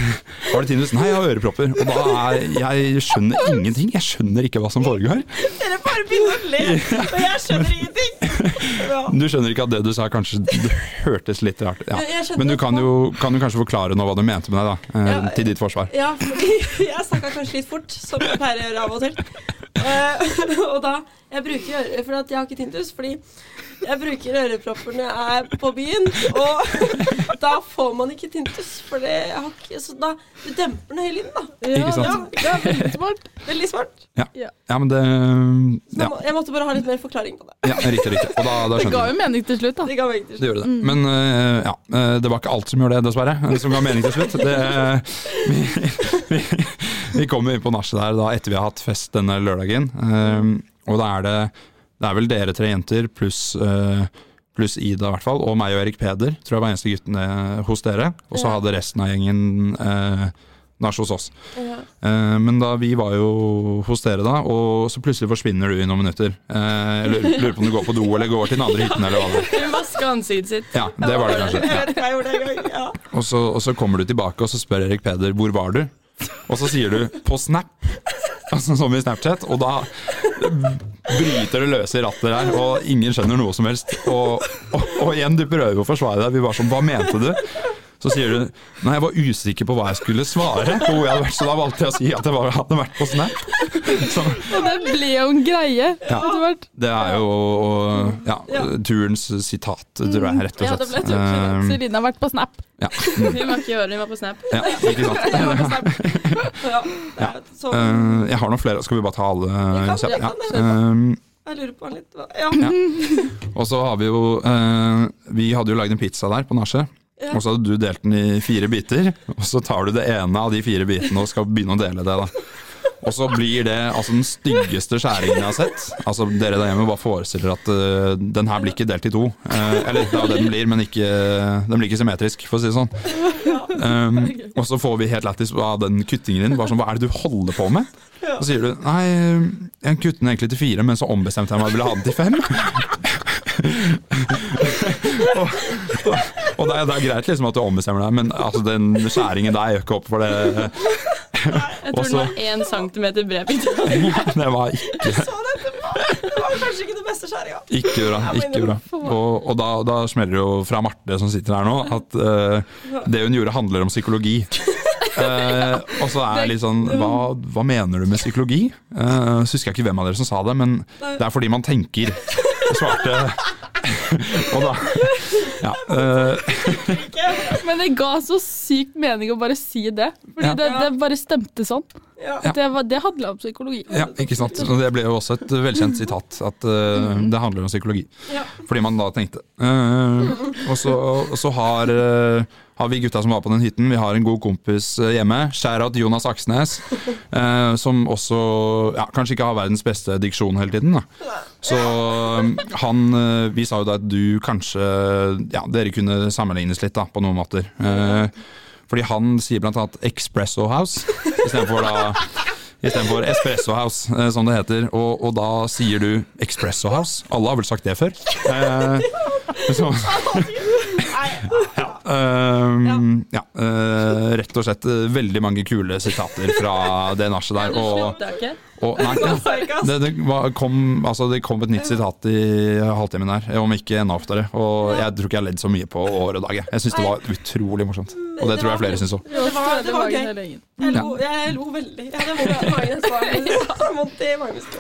[SPEAKER 2] var det tinnitus. Nei, jeg har ørepropper. Og da er Jeg skjønner ingenting. Jeg skjønner ikke hva som foregår.
[SPEAKER 5] Dere bare begynner
[SPEAKER 2] [laughs]
[SPEAKER 5] å le, og jeg skjønner ingenting. Ja.
[SPEAKER 2] Du skjønner ikke at det du sa kanskje det hørtes litt rart ut.
[SPEAKER 1] Jeg-
[SPEAKER 2] Ja.
[SPEAKER 1] jeg skjønner
[SPEAKER 2] Men du kan
[SPEAKER 1] hva-
[SPEAKER 2] jo, kan jo kanskje forklare nå hva du mente med det, da. eh,
[SPEAKER 1] Ja,
[SPEAKER 2] Til ditt forsvar.
[SPEAKER 1] Ja, fordi jeg snakka kanskje litt fort, som jeg pleier å gjøre av og til. Eh, og da Jeg bruker øre... For at jeg har ikke tinnitus. Fordi jeg bruker ørepropper når jeg er på byen, og [laughs] da får man ikke tinnitus. For det jeg har ikke Så da Du demper den høye lyden, da.
[SPEAKER 2] Ikke
[SPEAKER 1] Ja,
[SPEAKER 2] sant?
[SPEAKER 1] ja, veldig smart. Veldig smart.
[SPEAKER 2] Ja, men det
[SPEAKER 1] Så
[SPEAKER 2] Ja,
[SPEAKER 1] jeg må- Jeg måtte bare ha litt mer forklaring på det.
[SPEAKER 2] ja riktig, riktig. Og da, da [laughs]
[SPEAKER 4] Det ga
[SPEAKER 2] skjønner du.
[SPEAKER 4] jo mening til slutt, da.
[SPEAKER 1] Det ga meg ikke
[SPEAKER 2] Det gjør det. Men eh, ja, eh, det var ikke alt som gjorde det, dessverre. eh, Som ga mening til slutt. Det, eh, [laughs] vi, vi, vi kommer inn på nachet der da etter vi har hatt fest denne lørdagen. eh, og da er det Det er vel dere tre jenter pluss eh, Pluss Ida, i hvert fall, og meg og Erik Peder. Tror jeg var eneste gutten eh, hos dere. Og så
[SPEAKER 1] Ja.
[SPEAKER 2] hadde resten av gjengen eh, nach hos oss.
[SPEAKER 1] Ja.
[SPEAKER 2] Eh, men da vi var jo hos dere, da, og så plutselig forsvinner du i noen minutter. Eh, jeg lurer, lurer på om du går på do eller går til den andre hytten eller hva det er.
[SPEAKER 3] Hun vasker ansiktet sitt.
[SPEAKER 2] Ja, det var det kanskje.
[SPEAKER 5] Jeg vet ikke hva jeg gjorde en gang. Ja.
[SPEAKER 2] Og så, og så kommer du tilbake og så spør Erik Peder hvor var du? Og så sier du 'på Snap', altså som i Snapchat. Og da bryter det løs i rattet der, og ingen skjønner noe som helst. Og, og, og igjen, du prøver å forsvare deg. Vi var sånn 'hva mente du?' Så sier du 'nei, jeg var usikker på hva jeg skulle svare', på hvor jeg hadde vært, så da valgte jeg å si at jeg var, hadde vært på Snap. Så,
[SPEAKER 4] Og det ble jo en greie
[SPEAKER 2] Ja.
[SPEAKER 4] etter hvert.
[SPEAKER 2] det er jo ja, turens sitat, tror jeg, rett og
[SPEAKER 1] Ja, det ble
[SPEAKER 2] slett.
[SPEAKER 1] turens
[SPEAKER 2] Eh,
[SPEAKER 4] Celine har vært på Snap.
[SPEAKER 2] ja, Mm.
[SPEAKER 3] Hun var ikke i øret, hun var på Snap.
[SPEAKER 2] ja, ikke sant.
[SPEAKER 1] [laughs] Ja, det er så,
[SPEAKER 2] Eh, jeg har noen flere, skal vi bare ta alle?
[SPEAKER 1] kan,
[SPEAKER 2] kjapt?
[SPEAKER 1] jeg kan, jeg
[SPEAKER 2] Ehm,
[SPEAKER 1] jeg lurer på han litt. hva- Ja.
[SPEAKER 2] og så har vi jo eh, Vi hadde jo lagd en pizza der på nachet.
[SPEAKER 1] Ja.
[SPEAKER 2] Og så hadde du delt den i fire biter, og så tar du det ene av de fire bitene og skal begynne å dele det. da Og så blir det altså den styggeste skjæringen jeg har sett. Altså Dere der hjemme bare forestiller dere at eh, den her blir ikke delt i to. Eh, eller ja, den blir, men ikke, den blir ikke symmetrisk, for å si det sånn. Ehm, og så får vi helt lættis av den kuttingen din. Bare sånn, Hva er det du holder på med? Så sier du nei, jeg kuttet den egentlig til fire, men så ombestemte jeg meg og ville ha den til fem. Og det er, det er greit liksom at du ombestemmer deg, men altså, den skjæringen der gjør ikke opp for det.
[SPEAKER 3] Jeg tror
[SPEAKER 2] Også-
[SPEAKER 3] den
[SPEAKER 2] [laughs]
[SPEAKER 3] var én centimeter bred.
[SPEAKER 2] Det var ikke,
[SPEAKER 5] Så dette var, det var kanskje ikke det beste skjæringa.
[SPEAKER 2] ikke bra. Ikke bra. Og, og da, da smeller det jo fra Marte som sitter her nå, at eh, det hun gjorde handler om psykologi.
[SPEAKER 3] [laughs]
[SPEAKER 2] Eh, og så er jeg litt sånn hva, hva mener du med psykologi? Eh, så husker jeg ikke hvem av dere som sa det, men det er fordi man tenker. Og svarte
[SPEAKER 3] [laughs]
[SPEAKER 2] [laughs] Og da Ja. eh,
[SPEAKER 4] Men det ga så sykt mening å bare si det. Fordi
[SPEAKER 2] Ja.
[SPEAKER 4] det, det bare stemte sånn.
[SPEAKER 5] Ja.
[SPEAKER 4] Det, var, det handla om psykologi.
[SPEAKER 2] Ja, ikke sant. Og det ble jo også et velkjent sitat, at eh, det handler om psykologi.
[SPEAKER 1] Ja.
[SPEAKER 2] Fordi man da tenkte. Eh, og så, og så har, eh, har vi gutta som var på den hytten, vi har en god kompis eh, hjemme, Skjærat Jonas Aksnes, eh, som også ja, kanskje ikke har verdens beste diksjon hele tiden. da. Så um, han eh, Vi sa jo da at du kanskje Ja, dere kunne sammenlignes litt da, på noen måter. Eh, fordi han sier blant annet Expresso House istedenfor da Istedenfor Espresso House, eh, som det heter. Og, og da sier du Expresso House. Alle har vel sagt det før? Eh, så,
[SPEAKER 1] altså,
[SPEAKER 2] ja, ehm, ja, eh, rett og slett eh, veldig mange kule sitater fra det nachet der.
[SPEAKER 3] Du
[SPEAKER 2] Og,
[SPEAKER 3] slutta ikke.
[SPEAKER 2] og nei, ja,
[SPEAKER 1] altså.
[SPEAKER 2] det, det, var, kom, altså, det kom et nytt sitat i halvtimen her, om ikke enda oftere. Og jeg tror ikke jeg har ledd så mye på år og dag. jeg. Jeg syns det var utrolig morsomt. Og det tror jeg flere syns òg.
[SPEAKER 1] Det var, det var gøy.
[SPEAKER 4] gøy.
[SPEAKER 1] Jeg lo, jeg lo veldig. Jeg hadde vondt i magen. så var det- Jeg hadde vondt i magen. så.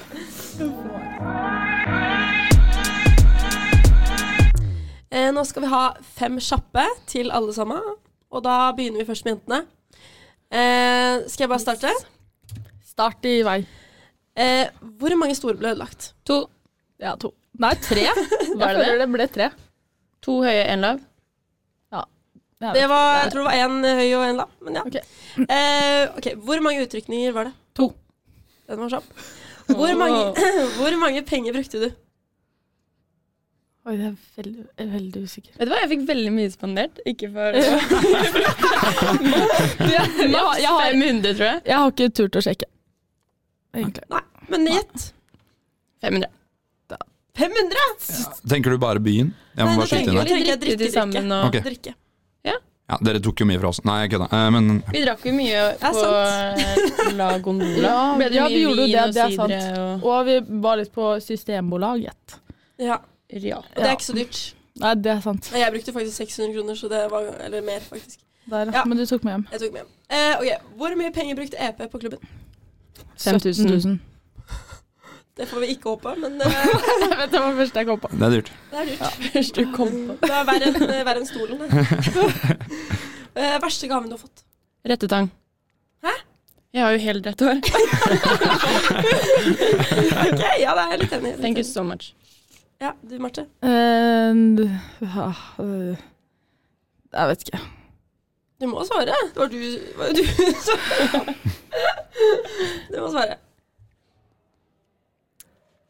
[SPEAKER 1] Eh, Nå skal vi ha fem kjappe til alle sammen. Og da begynner vi først med jentene. Eh, skal jeg bare starte?
[SPEAKER 4] Start i vei.
[SPEAKER 1] Eh, hvor mange store ble ødelagt?
[SPEAKER 3] To.
[SPEAKER 4] Ja, to. Nei, tre.
[SPEAKER 3] Var
[SPEAKER 4] [laughs] Jeg
[SPEAKER 3] det det?
[SPEAKER 4] føler det ble tre.
[SPEAKER 3] To høye, én lav.
[SPEAKER 4] Jeg
[SPEAKER 1] Det
[SPEAKER 4] vet
[SPEAKER 1] var,
[SPEAKER 4] ikke.
[SPEAKER 1] jeg tror det var én høy og én lav. Men ja.
[SPEAKER 4] Ok.
[SPEAKER 1] Eh, ok, Hvor mange utrykninger var det?
[SPEAKER 4] To.
[SPEAKER 1] Den var kjapp. Hvor mange, [laughs] hvor mange penger brukte du?
[SPEAKER 4] Oi, det er veldig, jeg er veldig usikker.
[SPEAKER 3] Vet du hva, jeg fikk veldig mye spandert. Ikke for
[SPEAKER 4] Ja.
[SPEAKER 3] Maks
[SPEAKER 4] Jeg har, jeg har,
[SPEAKER 3] 500, tror jeg.
[SPEAKER 4] jeg har ikke turt å sjekke. Egentlig.
[SPEAKER 1] Nei, men gjett.
[SPEAKER 3] 500.
[SPEAKER 1] 500?
[SPEAKER 2] Tenker du bare byen? Jeg må
[SPEAKER 1] Nei,
[SPEAKER 2] bare
[SPEAKER 1] det
[SPEAKER 2] skyte inn
[SPEAKER 1] tenker
[SPEAKER 2] der.
[SPEAKER 1] jeg
[SPEAKER 3] Vi drikket
[SPEAKER 1] drikker
[SPEAKER 3] jo sammen, og
[SPEAKER 2] Ok.
[SPEAKER 1] Drikke.
[SPEAKER 2] Ja, dere tok jo mye fra oss. Nei, jeg kødda. Eh, Men
[SPEAKER 3] vi drakk jo mye
[SPEAKER 1] er
[SPEAKER 3] på eh, La Gondola.
[SPEAKER 4] Ja,
[SPEAKER 3] Ble det
[SPEAKER 4] ja,
[SPEAKER 3] mye
[SPEAKER 4] vi gjorde jo
[SPEAKER 3] vin
[SPEAKER 4] det,
[SPEAKER 3] og
[SPEAKER 4] det er
[SPEAKER 3] sidre
[SPEAKER 4] sant.
[SPEAKER 3] og
[SPEAKER 4] Og vi var litt på Systembolaget.
[SPEAKER 1] Ja, og
[SPEAKER 3] ja. [laughs]
[SPEAKER 1] det er ikke så dyrt.
[SPEAKER 4] Nei, det er sant.
[SPEAKER 1] Nei, Jeg brukte faktisk 600 kroner, så det var, eller mer faktisk.
[SPEAKER 4] Der, ja.
[SPEAKER 1] Ja.
[SPEAKER 4] Men du tok med hjem.
[SPEAKER 1] Jeg tok med hjem. Eh, ok, Hvor mye penger brukte EP på klubben?
[SPEAKER 3] 5000.
[SPEAKER 4] 17 000.
[SPEAKER 1] Det får vi ikke håpe, men eh,
[SPEAKER 3] [laughs]
[SPEAKER 4] Jeg vet, det var det første jeg kom på.
[SPEAKER 2] det er dyrt.
[SPEAKER 1] det er dyrt.
[SPEAKER 3] Først du kom på.
[SPEAKER 1] Det er verre enn eh, verre enn stolen. det. eh, verste gaven du har fått?
[SPEAKER 3] Rettetang.
[SPEAKER 1] Hæ?
[SPEAKER 3] Jeg har jo helt rett hår.
[SPEAKER 1] Ok, ja, det er jeg litt enig i.
[SPEAKER 3] Thank you so much.
[SPEAKER 1] Ja, du, Marte.
[SPEAKER 4] And, Eh, ja, øh, jeg vet ikke.
[SPEAKER 1] Du må svare. Det var du, var du [laughs] som Du må svare.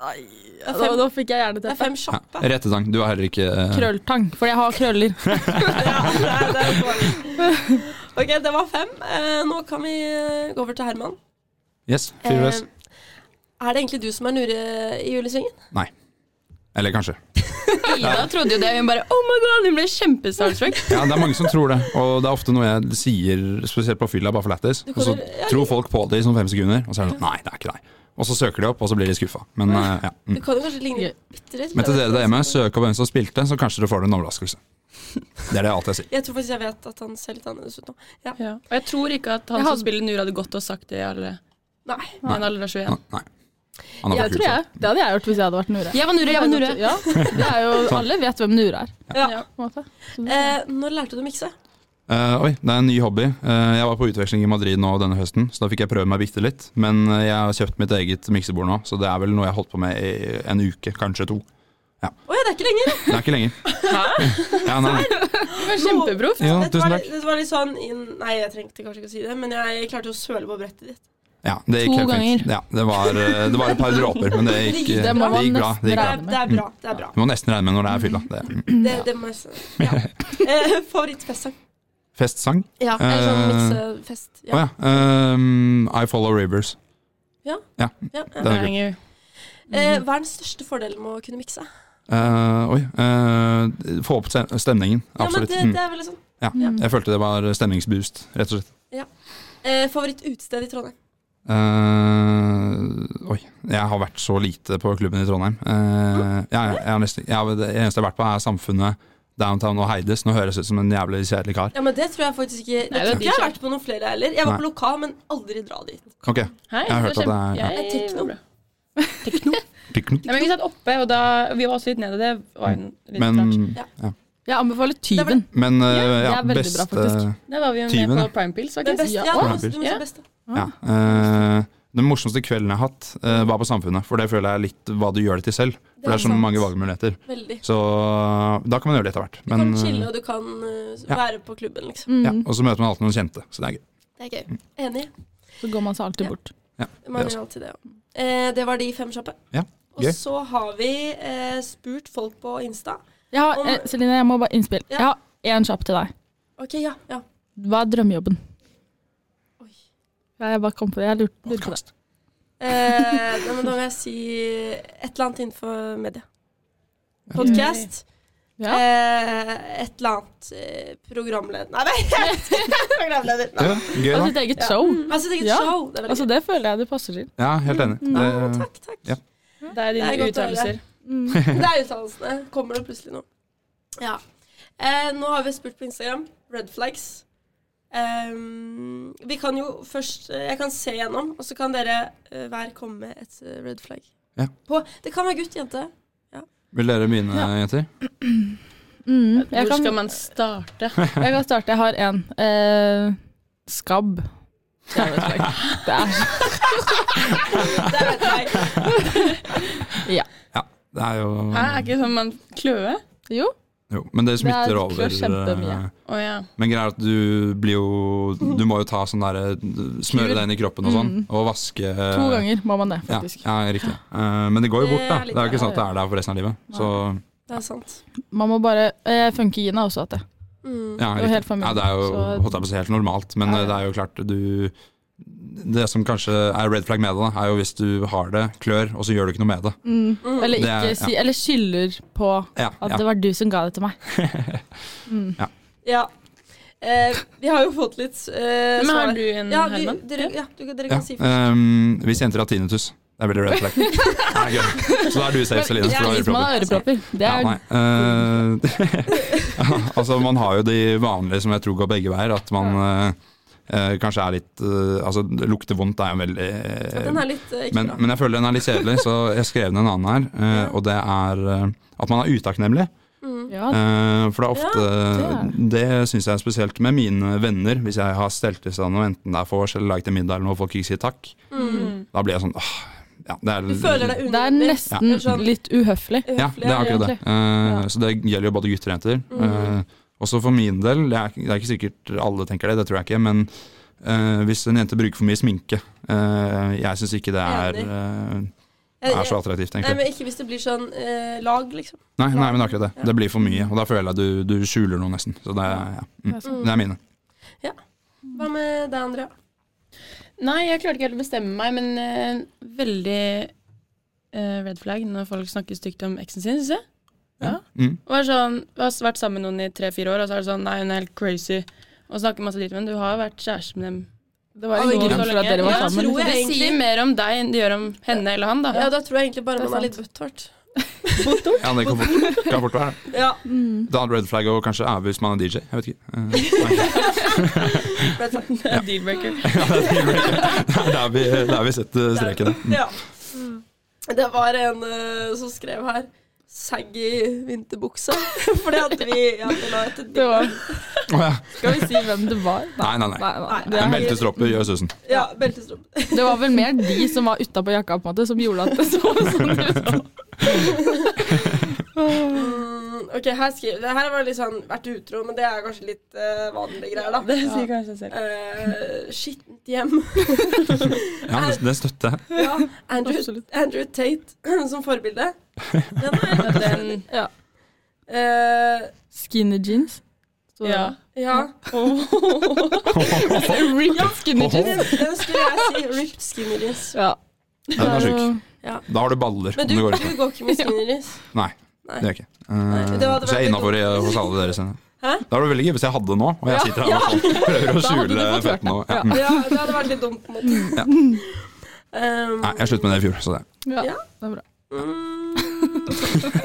[SPEAKER 4] Da,
[SPEAKER 1] fem-
[SPEAKER 4] da fikk jeg
[SPEAKER 1] Det er
[SPEAKER 4] hjerneteppe.
[SPEAKER 1] fem
[SPEAKER 2] Ja.
[SPEAKER 1] kjappe.
[SPEAKER 2] Rettetang. Du har heller ikke eh,
[SPEAKER 4] Krølltang, fordi jeg har krøller.
[SPEAKER 1] [laughs] Ja, nei, det er dårlig. ok, det var fem. Eh, nå kan vi eh, gå over til Herman.
[SPEAKER 2] Yes,
[SPEAKER 1] Eh,
[SPEAKER 2] fyrer løs.
[SPEAKER 1] er det egentlig du som er Nure i julesvingen?
[SPEAKER 2] Eller kanskje.
[SPEAKER 3] Ida trodde jo det. Hun bare oh my god, hun ble kjempestarstruck.
[SPEAKER 2] Ja, det er mange som tror det. Og det er ofte noe jeg sier, spesielt på fylla, bare for lættis.
[SPEAKER 1] Du
[SPEAKER 2] Og så
[SPEAKER 1] kommer- ja,
[SPEAKER 2] tror folk på det i sånn fem sekunder, og så er det sånn Nei, det er ikke deg. Og så søker de opp, og så blir de skuffa. Men eh, ja.
[SPEAKER 1] Du
[SPEAKER 2] Mm.
[SPEAKER 1] kan jo kanskje ligne bitte litt.
[SPEAKER 2] Men til dere der hjemme, søk opp hvem som spilte, så kanskje du får en overraskelse. Det er det jeg alltid sier.
[SPEAKER 1] Jeg tror faktisk jeg vet at han ser litt annerledes ut nå.
[SPEAKER 3] [laughs] Ja. Og jeg tror ikke at han
[SPEAKER 4] Jeg
[SPEAKER 3] som
[SPEAKER 4] hadde-
[SPEAKER 3] spiller Nura, hadde gått og sagt det i alle
[SPEAKER 1] Nei.
[SPEAKER 2] Nei.
[SPEAKER 3] en alder av 21.
[SPEAKER 2] Nei. Han
[SPEAKER 4] Ja,
[SPEAKER 2] er for
[SPEAKER 4] det tror
[SPEAKER 2] kul.
[SPEAKER 4] jeg. Det hadde jeg gjort hvis jeg hadde vært Nure.
[SPEAKER 3] Jeg var Nura, jeg var Nure.
[SPEAKER 4] Ja, det er jo, alle vet hvem Nure er.
[SPEAKER 1] Ja.
[SPEAKER 3] Ja.
[SPEAKER 4] På en måte. Så-
[SPEAKER 1] Eh, når lærte du å mikse?
[SPEAKER 2] Eh, oi, det er en ny hobby. Eh, jeg var på utveksling i Madrid nå denne høsten, så da fikk jeg prøve meg bitte litt. Men eh, jeg har kjøpt mitt eget miksebord nå, så det er vel noe jeg har holdt på med i en uke, kanskje to.
[SPEAKER 1] Å ja, det er ikke lenger!
[SPEAKER 2] Det er ikke lenger. [laughs] Ja, nei, nei.
[SPEAKER 3] Det var kjempeproft.
[SPEAKER 2] Ja,
[SPEAKER 1] Dette
[SPEAKER 2] tusen
[SPEAKER 1] var,
[SPEAKER 2] takk.
[SPEAKER 1] litt- dette var litt sånn inn- Nei, jeg trengte kanskje ikke å si det, men jeg klarte å søle på brettet ditt.
[SPEAKER 2] Ja, det gikk
[SPEAKER 4] To
[SPEAKER 2] helt fint.
[SPEAKER 4] ganger.
[SPEAKER 2] Ja, det, var, eh, det var et par dråper, men det gikk, eh,
[SPEAKER 4] Det må
[SPEAKER 2] det gikk
[SPEAKER 4] man
[SPEAKER 2] bra. Det gikk
[SPEAKER 4] nesten
[SPEAKER 1] Det
[SPEAKER 2] bra.
[SPEAKER 1] er, det er bra. det er bra.
[SPEAKER 2] Du må nesten regne med når det er fylla. Det. mm.
[SPEAKER 1] Det, det må jeg si.
[SPEAKER 2] [laughs]
[SPEAKER 1] Ja. Eh, Favorittfestsang?
[SPEAKER 2] Festsang?
[SPEAKER 1] Ja, eller sånn
[SPEAKER 2] Eh,
[SPEAKER 1] miksefest.
[SPEAKER 2] Å
[SPEAKER 1] Ja.
[SPEAKER 2] ja. ehm, I Follow Rivers.
[SPEAKER 1] Ja, ja.
[SPEAKER 2] Det er gøy.
[SPEAKER 3] Thank you.
[SPEAKER 1] Eh, hva er den største fordelen med å kunne mikse?
[SPEAKER 2] Eh, oi. eh, få opp stem- stemningen.
[SPEAKER 1] Ja, men
[SPEAKER 2] Absolutt.
[SPEAKER 1] det,
[SPEAKER 2] Mm.
[SPEAKER 1] det er veldig sånn.
[SPEAKER 2] Jeg følte det var stemningsboost, rett og slett.
[SPEAKER 1] Eh, Favorittutsted i Trondheim?
[SPEAKER 2] Eh, oi, jeg har vært så lite på klubben i Trondheim. Eh, ja, jeg, jeg har nesten, jeg, har- det eneste jeg har vært på, er Samfunnet, Downtown og Heides. Nå høres jeg ut som en jævlig kjedelig kar.
[SPEAKER 1] Ja, men Det tror jeg faktisk ikke Jeg
[SPEAKER 3] Nei, det
[SPEAKER 1] tror
[SPEAKER 3] er
[SPEAKER 1] ikke jeg har
[SPEAKER 3] DJ.
[SPEAKER 1] vært på noen flere heller. Jeg var
[SPEAKER 2] Nei.
[SPEAKER 1] på lokal, men aldri dra dit.
[SPEAKER 2] Ok,
[SPEAKER 3] Hei,
[SPEAKER 2] Jeg har
[SPEAKER 3] det
[SPEAKER 2] hørt at
[SPEAKER 3] var
[SPEAKER 2] det er-
[SPEAKER 3] kjempe-
[SPEAKER 1] Jeg er tekno.
[SPEAKER 3] bra. Tekno?
[SPEAKER 2] tekno.
[SPEAKER 3] Nei, men vi satt oppe, og da Vi var også litt nede. Det var jo litt rart.
[SPEAKER 2] Mm. Men,
[SPEAKER 1] Ja.
[SPEAKER 2] ja.
[SPEAKER 4] Jeg anbefaler Tyven.
[SPEAKER 2] men eh,
[SPEAKER 4] det er
[SPEAKER 2] ja,
[SPEAKER 4] veldig
[SPEAKER 2] best
[SPEAKER 4] bra, faktisk.
[SPEAKER 2] eh,
[SPEAKER 3] Der var vi jo med
[SPEAKER 2] Tyvene.
[SPEAKER 3] på Prime Pills,
[SPEAKER 1] Den
[SPEAKER 3] faktisk.
[SPEAKER 1] beste, ja,
[SPEAKER 4] Ja,
[SPEAKER 1] den
[SPEAKER 2] å.
[SPEAKER 1] beste, den
[SPEAKER 3] Ja.
[SPEAKER 1] beste.
[SPEAKER 4] Ah.
[SPEAKER 2] ja. Eh, Den morsomste kvelden jeg har hatt, eh, var på Samfunnet. For det føler jeg er litt hva du gjør det til selv. For det er så
[SPEAKER 1] sant.
[SPEAKER 2] mange valgmuligheter.
[SPEAKER 1] Veldig.
[SPEAKER 2] Så eh, da kan man gjøre det etter hvert.
[SPEAKER 1] Du kan
[SPEAKER 2] Men,
[SPEAKER 1] chille,
[SPEAKER 2] eh,
[SPEAKER 1] og du kan eh,
[SPEAKER 2] ja.
[SPEAKER 1] være på klubben, liksom.
[SPEAKER 4] Mm.
[SPEAKER 2] ja, og så møter man alltid noen kjente. Så det er gøy.
[SPEAKER 1] Det er gøy. Enig.
[SPEAKER 4] Så går man seg alltid bort.
[SPEAKER 1] Man
[SPEAKER 2] Det
[SPEAKER 1] gjør alltid det, ja. Eh, det var de fem kjappe.
[SPEAKER 2] Ja,
[SPEAKER 1] Og
[SPEAKER 2] gøy.
[SPEAKER 1] så har vi eh, spurt folk på Insta.
[SPEAKER 4] Jeg har,
[SPEAKER 1] Om-
[SPEAKER 4] eh, Celine, jeg må bare innspille.
[SPEAKER 1] Ja.
[SPEAKER 4] Jeg har én kjapp til deg.
[SPEAKER 1] Ok, ja. ja.
[SPEAKER 4] Hva er drømmejobben?
[SPEAKER 1] Oi.
[SPEAKER 4] Ja, jeg bare kom på det. Jeg lurte lurte på det.
[SPEAKER 1] Eh, [laughs] nei, men da må jeg si et eller annet innenfor media. Podcast.
[SPEAKER 4] Mm. Ja.
[SPEAKER 1] Eh, et eller annet eh, programleder Nei, [laughs] nei, jeg vet ikke. programleder. Nei.
[SPEAKER 2] Ja, gøy,
[SPEAKER 4] Og
[SPEAKER 2] da.
[SPEAKER 4] sitt eget show.
[SPEAKER 1] Altså, det er et
[SPEAKER 4] Ja.
[SPEAKER 1] show. Det er veldig
[SPEAKER 4] Altså, det føler jeg det passer til.
[SPEAKER 2] Ja, helt enig.
[SPEAKER 1] gøy. Å,
[SPEAKER 2] Det,
[SPEAKER 1] takk, takk.
[SPEAKER 2] ja.
[SPEAKER 3] Det er
[SPEAKER 1] Det er
[SPEAKER 3] dine
[SPEAKER 1] godt å høre.
[SPEAKER 3] uttalelser.
[SPEAKER 4] Mm.
[SPEAKER 1] [laughs] Det er uttalelsene. Kommer det plutselig nå. Ja. Eh, nå har vi spurt på Instagram. Red flags. Ehm, vi kan jo først eh, Jeg kan se gjennom, og så kan dere eh, hver komme med et eh, red flag.
[SPEAKER 2] Ja.
[SPEAKER 1] På, det kan være gutt, jente.
[SPEAKER 2] vil dere begynne, jenter?
[SPEAKER 4] Mm. Jeg,
[SPEAKER 3] Hvor
[SPEAKER 4] kan,
[SPEAKER 3] skal man starte?
[SPEAKER 4] jeg kan starte. Jeg har én. Eh, skabb. Jeg vet ikke. Det er
[SPEAKER 1] Det er red flag.
[SPEAKER 2] Det er jo
[SPEAKER 3] Hæ, er ikke sånn man kløe?
[SPEAKER 4] Jo.
[SPEAKER 2] Jo, men det smitter
[SPEAKER 4] Det er
[SPEAKER 2] over.
[SPEAKER 4] kjempemye.
[SPEAKER 2] eh,
[SPEAKER 3] Å ja.
[SPEAKER 2] Men greia er at du blir jo Du må jo ta sånn derre Smøre deg inn i kroppen og sånn, og vaske eh,
[SPEAKER 4] Mm. To ganger må man det,
[SPEAKER 2] Ja,
[SPEAKER 4] faktisk.
[SPEAKER 2] ja, riktig. Eh, men det går jo bort,
[SPEAKER 1] Det
[SPEAKER 2] da.
[SPEAKER 1] er litt
[SPEAKER 2] Det er jo ikke
[SPEAKER 4] bra.
[SPEAKER 2] sånn at det er der for resten av livet. Så
[SPEAKER 1] Det er sant.
[SPEAKER 4] Man må bare eh, Funkygine har også hatt det.
[SPEAKER 1] Mm.
[SPEAKER 2] ja,
[SPEAKER 4] Og
[SPEAKER 2] riktig.
[SPEAKER 4] helt familie,
[SPEAKER 2] Ja, det er jo
[SPEAKER 4] så-
[SPEAKER 2] holdt jeg på å si, helt normalt, men
[SPEAKER 4] Ja, ja.
[SPEAKER 2] eh, det er jo klart du Det som kanskje er red flag med det, da, er jo hvis du har det, klør, og så gjør du ikke noe med det.
[SPEAKER 1] Mm.
[SPEAKER 4] Eller,
[SPEAKER 2] Det
[SPEAKER 4] ikke
[SPEAKER 2] er- ja.
[SPEAKER 4] si, eller skylder på
[SPEAKER 2] Ja,
[SPEAKER 4] at
[SPEAKER 2] ja.
[SPEAKER 4] det var du som ga det til meg. Mm.
[SPEAKER 1] Ja. Eh, vi har jo fått litt eh,
[SPEAKER 3] Men
[SPEAKER 1] svar.
[SPEAKER 3] har du en,
[SPEAKER 1] ja, du,
[SPEAKER 3] Herman?
[SPEAKER 1] dere, ja, du, dere
[SPEAKER 2] ja.
[SPEAKER 1] kan si først.
[SPEAKER 2] ehm, hvis jenter har tinnitus, det er veldig red flag. Nei, gøy. så da er du safe, Celine. for du har
[SPEAKER 4] hvis man har
[SPEAKER 2] ørepropper.
[SPEAKER 4] ørepropper. Det
[SPEAKER 2] Ja,
[SPEAKER 4] er
[SPEAKER 2] nei. Eh, [laughs] altså, man har jo de vanlige som jeg tror går begge veier, at man eh, eh, kanskje er litt eh, Altså, det lukter vondt er jo en veldig eh,
[SPEAKER 1] Den er litt eh, ikke
[SPEAKER 2] men,
[SPEAKER 1] bra.
[SPEAKER 2] men jeg føler den er litt kjedelig, så jeg skrev ned en annen her. eh,
[SPEAKER 1] Ja.
[SPEAKER 2] Og det er eh, at man er utakknemlig.
[SPEAKER 1] Mm.
[SPEAKER 4] ja,
[SPEAKER 2] Eh, for det er ofte
[SPEAKER 4] Ja,
[SPEAKER 2] Det syns jeg er spesielt med mine venner. Hvis jeg har stelt i stand noe, enten det er vors eller laget en middag eller noe, og folk ikke sier takk,
[SPEAKER 1] Mm.
[SPEAKER 2] da blir jeg sånn åh, ja, det er,
[SPEAKER 1] Du føler deg
[SPEAKER 4] det er
[SPEAKER 1] unødvendig.
[SPEAKER 4] nesten
[SPEAKER 1] Ja.
[SPEAKER 4] litt uhøflig.
[SPEAKER 2] Ja, det er akkurat det. Eh,
[SPEAKER 4] Ja.
[SPEAKER 2] Så det gjelder jo både gutter og jenter. Eh, også for min del, det er, det er ikke sikkert alle tenker det, det tror jeg ikke, men eh, hvis en jente bruker for mye sminke eh, Jeg syns ikke det er, eh, er så attraktivt,
[SPEAKER 1] Nei,
[SPEAKER 2] egentlig.
[SPEAKER 1] men ikke hvis det blir sånn eh, lag, liksom.
[SPEAKER 2] Nei, nei, men akkurat det. Det blir for mye, og da føler jeg at du, du skjuler noe, nesten. Så det, er- ja. mm. det er mine.
[SPEAKER 1] Hva med deg, Andrea?
[SPEAKER 3] Nei, jeg klarte ikke helt å bestemme meg, men eh, veldig eh, red flag når folk snakker stygt om eksen sin, syns jeg.
[SPEAKER 2] Mm.
[SPEAKER 3] Og er sånn, Vi har vært sammen med noen i tre-fire år, og så er det sånn Nei, hun er helt crazy. Og snakker masse dritt, men du har jo vært kjæreste med dem.
[SPEAKER 4] Det
[SPEAKER 1] Av
[SPEAKER 4] var
[SPEAKER 1] en
[SPEAKER 4] en grunn
[SPEAKER 1] grunn
[SPEAKER 4] for at dere var
[SPEAKER 1] Ja,
[SPEAKER 4] sammen.
[SPEAKER 1] tror jeg
[SPEAKER 3] Det
[SPEAKER 1] egentlig-
[SPEAKER 3] sier mer om deg enn det gjør om henne eller han, da.
[SPEAKER 1] Ja, da tror jeg egentlig bare
[SPEAKER 4] Det er
[SPEAKER 1] man er litt butthårt.
[SPEAKER 2] Ja, det kan fort, kan fort være.
[SPEAKER 1] Ja,
[SPEAKER 4] Mm.
[SPEAKER 2] Det er red flag å kanskje æve hvis man er DJ. Jeg vet ikke. Eh, [laughs]
[SPEAKER 1] red flag.
[SPEAKER 3] [laughs] Det er deal-breaker.
[SPEAKER 2] det er der vi, der vi setter streken. ja.
[SPEAKER 1] ja.
[SPEAKER 4] Mm.
[SPEAKER 1] Det var en eh, som skrev her saggy vinterbukse. [laughs] Fordi at vi ja, det la et
[SPEAKER 4] Det var,
[SPEAKER 2] Å, ja.
[SPEAKER 4] skal vi si hvem det var?
[SPEAKER 2] Nei, nei, nei.
[SPEAKER 4] Nei, nei,
[SPEAKER 1] Nei.
[SPEAKER 4] det,
[SPEAKER 1] er-
[SPEAKER 2] Beltestropper gjør susen.
[SPEAKER 1] Ja, beltestropp.
[SPEAKER 4] er- det var vel mer de som var utapå jakka, på en måte, som gjorde at det så sånn ut.
[SPEAKER 1] Mm, ok, her skriver Det her var litt sånn vært utro, men det er kanskje litt eh, vanlige greier, da.
[SPEAKER 3] [laughs] Det sier kanskje seg selv.
[SPEAKER 1] Eh, skittent hjem.
[SPEAKER 4] [laughs]
[SPEAKER 2] Ja, det, det
[SPEAKER 1] [laughs]
[SPEAKER 2] støtter jeg.
[SPEAKER 1] Ja, Andrew,
[SPEAKER 4] Absolutt.
[SPEAKER 1] Andrew Tate [clears throat] som forbilde.
[SPEAKER 4] [laughs]
[SPEAKER 1] Den er
[SPEAKER 3] Ja, Den,
[SPEAKER 1] Eh,
[SPEAKER 4] Skinny jeans. Så- [laughs]
[SPEAKER 3] ja.
[SPEAKER 1] ja.
[SPEAKER 4] Oh. Ripped skinny jeans.
[SPEAKER 1] Den, den skulle jeg si. Ripped skinny jeans.
[SPEAKER 4] Ja.
[SPEAKER 2] Den er sjuk.
[SPEAKER 1] Ja.
[SPEAKER 2] Da har du baller.
[SPEAKER 1] Men
[SPEAKER 2] om
[SPEAKER 1] du,
[SPEAKER 2] det
[SPEAKER 1] du
[SPEAKER 2] går ikke.
[SPEAKER 1] går ikke med skinny jeans.
[SPEAKER 2] Nei,
[SPEAKER 1] Nei.
[SPEAKER 2] det gjør jeg ikke. Eh,
[SPEAKER 1] Nei, det hadde
[SPEAKER 2] så jeg er
[SPEAKER 1] vært
[SPEAKER 2] innafor hos alle dere sine.
[SPEAKER 1] Hæ?
[SPEAKER 2] Da er det veldig gøy hvis jeg hadde nå, og jeg
[SPEAKER 1] Ja,
[SPEAKER 2] sitter her
[SPEAKER 1] [laughs]
[SPEAKER 2] og sånn, prøver å
[SPEAKER 4] Da hadde du
[SPEAKER 2] skjule
[SPEAKER 4] fått hørt
[SPEAKER 2] føttene. og- Ja.
[SPEAKER 4] det.
[SPEAKER 2] mm.
[SPEAKER 1] Ja, det hadde vært litt dumt, på en måte. Um,
[SPEAKER 2] Nei, jeg sluttet med det i fjor, så det.
[SPEAKER 4] Ja.
[SPEAKER 1] Ja.
[SPEAKER 4] Det er bra.
[SPEAKER 1] mm.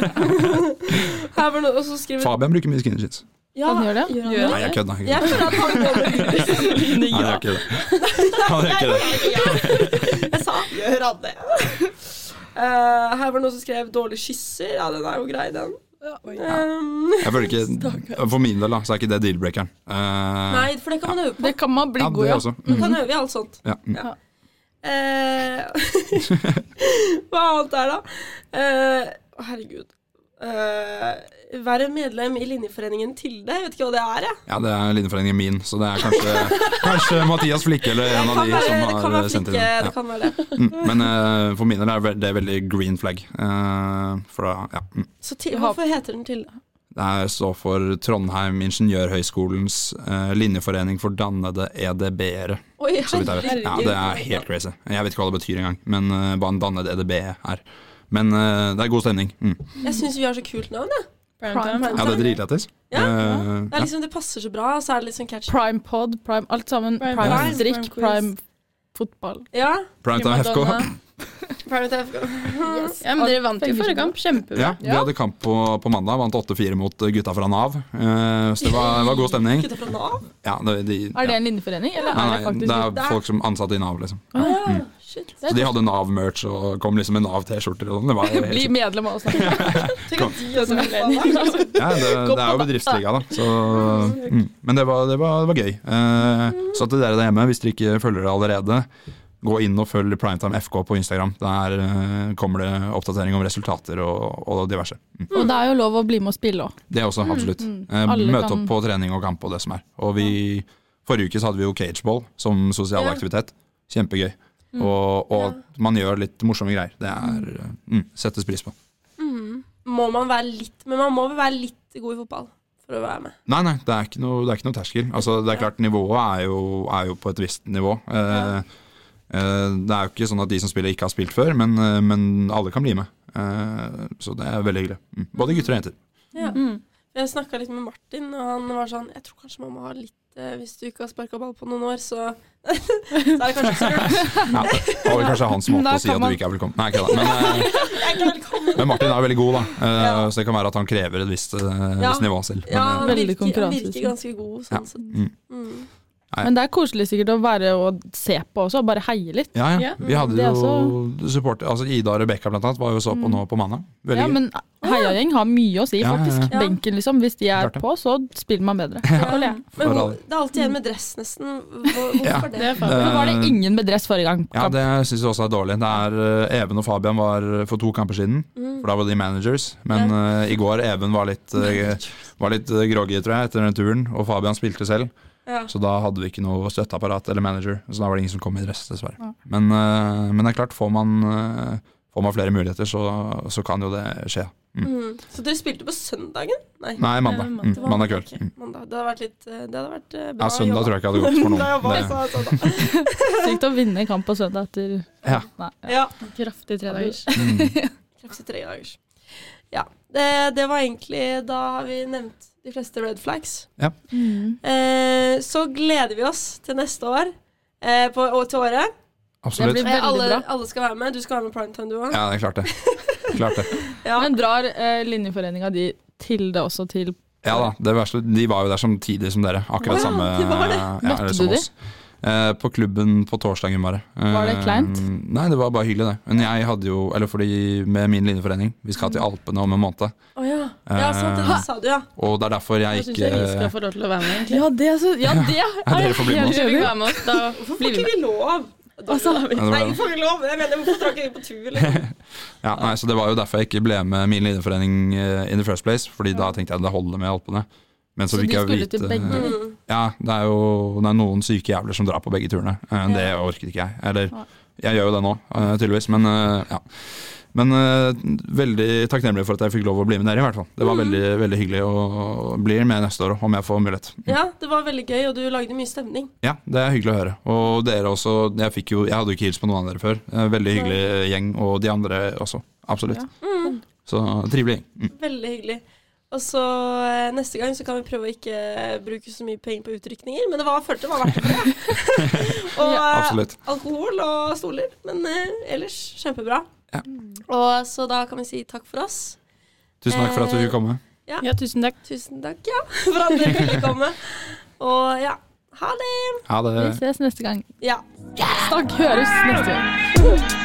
[SPEAKER 1] [laughs] Her var det også skrevet
[SPEAKER 2] Fabian bruker mye skinny jeans.
[SPEAKER 1] Ja,
[SPEAKER 4] Han gjør det?
[SPEAKER 1] Gjør han
[SPEAKER 3] Gjør
[SPEAKER 2] Nei, jeg kødda. jeg kødda.
[SPEAKER 1] Jeg føler at han går med gul.
[SPEAKER 2] [laughs] Nei, det gjør
[SPEAKER 1] [laughs]
[SPEAKER 2] ikke det. Han gjør ikke det.
[SPEAKER 1] Jeg sa [laughs] gjør han det. Eh, her var det noen som skrev 'dårlige kysser'. Ja, den er jo grei, den. Um,
[SPEAKER 2] Jeg føler ikke, For min del da, så er ikke det deal-breakeren. Eh,
[SPEAKER 1] nei, for det kan man øve på.
[SPEAKER 4] Det kan man bli
[SPEAKER 2] ja,
[SPEAKER 4] god
[SPEAKER 2] det
[SPEAKER 4] i.
[SPEAKER 2] også.
[SPEAKER 1] Man
[SPEAKER 2] Mm.
[SPEAKER 1] kan øve i alt sånt.
[SPEAKER 2] Ja. mm.
[SPEAKER 1] Eh, [laughs] hva annet er det, da? Eh, å, herregud. Eh, være medlem i linjeforeningen Tilde. Jeg vet ikke hva det er, jeg.
[SPEAKER 2] ja, det er linjeforeningen min, så det er kanskje,
[SPEAKER 1] [laughs]
[SPEAKER 2] kanskje Mathias Flikke eller
[SPEAKER 1] Det
[SPEAKER 2] en av
[SPEAKER 1] kan
[SPEAKER 2] de
[SPEAKER 1] være,
[SPEAKER 2] som
[SPEAKER 1] det kan
[SPEAKER 2] har
[SPEAKER 1] være
[SPEAKER 2] sendt
[SPEAKER 1] flikke,
[SPEAKER 2] inn. Ja.
[SPEAKER 1] det kan være det.
[SPEAKER 2] Mm, Men eh, for min del er det veldig green flag. Eh, for da, ja. mm.
[SPEAKER 1] Så til, hvorfor heter den Tilde?
[SPEAKER 2] Det her står for Trondheim Ingeniørhøgskolens eh, linjeforening for dannede EDB-ere.
[SPEAKER 1] Oi,
[SPEAKER 2] Så vidt jeg vet. Ja, det er
[SPEAKER 1] herregud.
[SPEAKER 2] helt crazy. Jeg vet ikke hva det betyr engang, men eh, hva en dannet EDB er. Men eh, det er god stemning. Mm.
[SPEAKER 1] Jeg syns vi har så kult navn, jeg.
[SPEAKER 3] Primetime.
[SPEAKER 2] Ja, det er dritlættis.
[SPEAKER 1] Ja,
[SPEAKER 2] Eh,
[SPEAKER 1] Det, er liksom, det passer så bra, og så er det litt sånn catchy.
[SPEAKER 4] Prime pod, prime alt sammen.
[SPEAKER 3] Prime
[SPEAKER 4] Prime,
[SPEAKER 3] Prime,
[SPEAKER 4] drikk,
[SPEAKER 3] Prime
[SPEAKER 4] prime fotball.
[SPEAKER 1] Ja.
[SPEAKER 2] ja. Primetime FK.
[SPEAKER 3] Primadonna.
[SPEAKER 1] Private FK.
[SPEAKER 3] Ja, men dere vant jo forrige kamp. Kjempebra.
[SPEAKER 2] Ja, vi hadde kamp på, på mandag, vant 8-4 mot gutta fra Nav. Eh, så det var, det var god stemning.
[SPEAKER 1] [laughs] Gutta fra Nav?
[SPEAKER 2] Ja, det, de,
[SPEAKER 4] Er det
[SPEAKER 2] ja.
[SPEAKER 4] en linjeforening, eller
[SPEAKER 2] Nei,
[SPEAKER 4] er det
[SPEAKER 2] nei,
[SPEAKER 4] faktisk
[SPEAKER 2] det er folk som ansatte i Nav, liksom.
[SPEAKER 1] Å ja, Ah, shit.
[SPEAKER 2] Så de hadde Nav-merch og kom liksom med Nav-T-skjorter og sånn. Det var jo
[SPEAKER 4] Bli
[SPEAKER 2] helt-
[SPEAKER 4] medlem
[SPEAKER 2] [laughs]
[SPEAKER 4] av oss. da.
[SPEAKER 1] Tenk at de også er medlem. [laughs]
[SPEAKER 2] Ja, det, det er jo bedriftsliga, da. Så, mm. Men det var, det var, det var gøy. Eh, så til dere der hjemme, hvis dere ikke følger det allerede, Gå inn og følg Primetime FK på Instagram. Der eh, kommer det oppdatering om resultater og, og diverse. Mm.
[SPEAKER 4] Og det er jo lov å bli med og spille òg.
[SPEAKER 2] Det også, absolutt.
[SPEAKER 4] Mm.
[SPEAKER 2] Eh,
[SPEAKER 4] Alle
[SPEAKER 2] Møte opp
[SPEAKER 4] kan-
[SPEAKER 2] på trening og kamp og det som er. Og vi, forrige uke så hadde vi jo cageball som sosial
[SPEAKER 1] Ja.
[SPEAKER 2] aktivitet. Kjempegøy. Og, og man gjør litt morsomme greier. Det er, eh, mm, settes pris på.
[SPEAKER 1] Mm. Må man være litt Men man må vel være litt god i fotball for å være med.
[SPEAKER 2] Nei, nei, det er ikke noe, det er ikke noe terskel. Altså, det er klart, nivået er jo, er jo på et visst nivå. Eh, eh, det er jo ikke sånn at de som spiller, ikke har spilt før, men, eh, men alle kan bli med. Eh, så det er veldig hyggelig. Mm. Både gutter og jenter.
[SPEAKER 1] Ja.
[SPEAKER 4] Mm.
[SPEAKER 1] Jeg snakka litt med Martin, og han var sånn Jeg tror kanskje man må ha litt eh, Hvis du ikke har sparka ball på noen år, så [laughs] Så er det kanskje ikke så lurt.
[SPEAKER 2] Ja, det var vel kanskje hans måte
[SPEAKER 4] Da
[SPEAKER 2] å si
[SPEAKER 4] kan
[SPEAKER 2] at
[SPEAKER 4] man-
[SPEAKER 2] du ikke er velkommen. Nei, ikke da. Men, eh,
[SPEAKER 1] Jeg er ikke velkommen.
[SPEAKER 2] men Martin er jo veldig god, da. Eh, Så det kan være at han krever et visst, eh,
[SPEAKER 1] Ja.
[SPEAKER 2] visst nivå selv. Men,
[SPEAKER 1] Ja,
[SPEAKER 2] eh,
[SPEAKER 1] han
[SPEAKER 4] Veldig
[SPEAKER 1] virker, han virker
[SPEAKER 4] konkurranseutsatt.
[SPEAKER 1] ganske god
[SPEAKER 2] Ja.
[SPEAKER 1] sånn sett.
[SPEAKER 2] Mm.
[SPEAKER 1] Mm.
[SPEAKER 2] [laughs]
[SPEAKER 4] Men det er koselig sikkert å være og se på også, og bare heie litt.
[SPEAKER 2] ja, ja.
[SPEAKER 3] Ja,
[SPEAKER 2] Vi hadde
[SPEAKER 4] det er
[SPEAKER 2] jo supporter, altså Ida og Rebekka blant annet, var jo så på nå på mandag. Veldig
[SPEAKER 4] Ja,
[SPEAKER 2] gøy.
[SPEAKER 4] men heiagjeng har mye å si,
[SPEAKER 2] Ja, ja, ja.
[SPEAKER 4] faktisk.
[SPEAKER 1] Ja.
[SPEAKER 4] Benken, liksom. Hvis de er
[SPEAKER 2] Klart det.
[SPEAKER 4] på, så spiller man bedre.
[SPEAKER 1] Ja. Men
[SPEAKER 2] For
[SPEAKER 1] hvor,
[SPEAKER 2] alle.
[SPEAKER 1] det er alltid en med dress, nesten.
[SPEAKER 2] [laughs]
[SPEAKER 1] Hvor, hvorfor
[SPEAKER 3] Det
[SPEAKER 1] det?
[SPEAKER 3] er faen.
[SPEAKER 4] Nå var det ingen med dress forrige gang.
[SPEAKER 2] Eh, Ja, det syns jeg også er dårlig. Det er, eh, Even og Fabian var eh, for to kamper siden,
[SPEAKER 1] Mm.
[SPEAKER 2] for da var de managers. Men eh, i går Even var litt, uh, var litt eh, groggy, tror jeg, etter den turen. Og Fabian spilte selv,
[SPEAKER 1] Ja.
[SPEAKER 2] så da hadde vi ikke noe støtteapparat eller manager. Så da var det ingen som kom i dress, dessverre. Men, eh, men det er klart, får man, eh, får man flere muligheter, så, så kan jo det skje. Mm.
[SPEAKER 1] Mm. Så dere spilte på søndagen? Nei.
[SPEAKER 2] Nei, mandag.
[SPEAKER 3] Det var
[SPEAKER 2] Mm,
[SPEAKER 1] det var
[SPEAKER 2] mandag kveld.
[SPEAKER 1] ok,
[SPEAKER 2] Mm.
[SPEAKER 1] Mandag. Det hadde vært litt eh, Det hadde vært eh, bra.
[SPEAKER 2] Ja, søndag tror jeg ikke hadde
[SPEAKER 1] [laughs]
[SPEAKER 2] gått for noen. Det, mm.
[SPEAKER 1] noen.
[SPEAKER 4] Sykt å vinne kamp på søndag etter
[SPEAKER 2] Ja.
[SPEAKER 4] Nei, ja.
[SPEAKER 1] Ja.
[SPEAKER 3] Kraftig tredagers.
[SPEAKER 2] mm.
[SPEAKER 1] Krefse tre dagers. Ja. Det, det var egentlig Da har vi nevnt de fleste red flags. Eh, så gleder vi oss til neste år. Eh, på, og til året.
[SPEAKER 4] Det
[SPEAKER 2] Absolutt.
[SPEAKER 4] blir
[SPEAKER 1] Eh, alle,
[SPEAKER 4] veldig bra.
[SPEAKER 1] alle skal være med. Du skal være med primetime, du òg.
[SPEAKER 2] Ja, det er klart det. Klart det.
[SPEAKER 1] Ja.
[SPEAKER 4] Men drar eh, linjeforeninga di til det også til
[SPEAKER 2] Ja da, det verste, de var jo der samtidig som dere.
[SPEAKER 1] Wow,
[SPEAKER 2] Akkurat samme
[SPEAKER 1] de var det.
[SPEAKER 2] Ja,
[SPEAKER 4] Møtte
[SPEAKER 2] eller som
[SPEAKER 4] du de?
[SPEAKER 2] oss. Eh, på klubben på torsdagen, bare. Eh,
[SPEAKER 4] Var det kleint?
[SPEAKER 2] Nei, det var bare hyggelig, det. Men jeg hadde jo, eller fordi med min linjeforening, vi skal til Alpene om en måned. Eh,
[SPEAKER 1] Å ja. ja, sant det, det sa du, ja.
[SPEAKER 2] Og det er derfor jeg eh,
[SPEAKER 3] Jeg syns
[SPEAKER 2] ikke
[SPEAKER 3] jeg vi skal få lov til å være med, egentlig.
[SPEAKER 4] Ja, det er så Ja, det er
[SPEAKER 2] Ja, dere får bli med oss.
[SPEAKER 4] helt
[SPEAKER 3] Hvis
[SPEAKER 4] enig.
[SPEAKER 3] vi ikke være med oss, da
[SPEAKER 1] Hvorfor får
[SPEAKER 3] blir vi
[SPEAKER 1] ikke
[SPEAKER 3] med.
[SPEAKER 1] vi lov?
[SPEAKER 2] Ja, det var
[SPEAKER 1] Nei,
[SPEAKER 2] det.
[SPEAKER 1] vi får ikke lov. Jeg mener, hvorfor drar ikke vi på tur? [laughs] Liksom?
[SPEAKER 2] ja, nei, Så det var jo derfor jeg ikke ble med min linjeforening eh, in the first place, Fordi da tenkte jeg det holder med Alpene. Men så,
[SPEAKER 4] Så
[SPEAKER 2] fikk
[SPEAKER 4] de
[SPEAKER 2] jeg
[SPEAKER 4] skulle
[SPEAKER 2] vite
[SPEAKER 4] til begge?
[SPEAKER 1] Mm.
[SPEAKER 2] Ja, det er jo det er noen syke jævler som drar på begge turene. Eh, Det orket ikke jeg. Eller
[SPEAKER 4] Nei.
[SPEAKER 2] jeg gjør jo det nå, eh, tydeligvis, men eh, ja. Men eh, veldig takknemlig for at jeg fikk lov å bli med dere, i hvert fall. Det var veldig, veldig hyggelig og blir med neste år om jeg får mulighet.
[SPEAKER 1] Ja, det var veldig gøy, og du lagde mye stemning.
[SPEAKER 2] Ja, det er hyggelig å høre. Og dere også. Jeg, fikk jo, jeg hadde jo ikke hilst på noen av dere før. Eh, Veldig hyggelig gjeng, og de andre også. Absolutt.
[SPEAKER 4] Ja.
[SPEAKER 2] Så trivelig gjeng. Mm.
[SPEAKER 1] Mm, Veldig hyggelig. Og så eh, neste gang så kan vi prøve å ikke bruke så mye penger på utrykninger, men det var, følte det var verdt det. for det. [laughs] og eh,
[SPEAKER 2] Absolutt.
[SPEAKER 1] alkohol og stoler, men eh, ellers kjempebra.
[SPEAKER 2] Ja.
[SPEAKER 1] Og så da kan vi si takk for oss.
[SPEAKER 2] Tusen takk for at du fikk komme.
[SPEAKER 3] Ja, tusen takk.
[SPEAKER 1] Tusen takk, ja, [laughs] for at dere ville komme. Og ja, ha det!
[SPEAKER 2] Ha det.
[SPEAKER 4] Vi ses neste gang.
[SPEAKER 1] Ja.
[SPEAKER 4] Snakk, høres neste gang.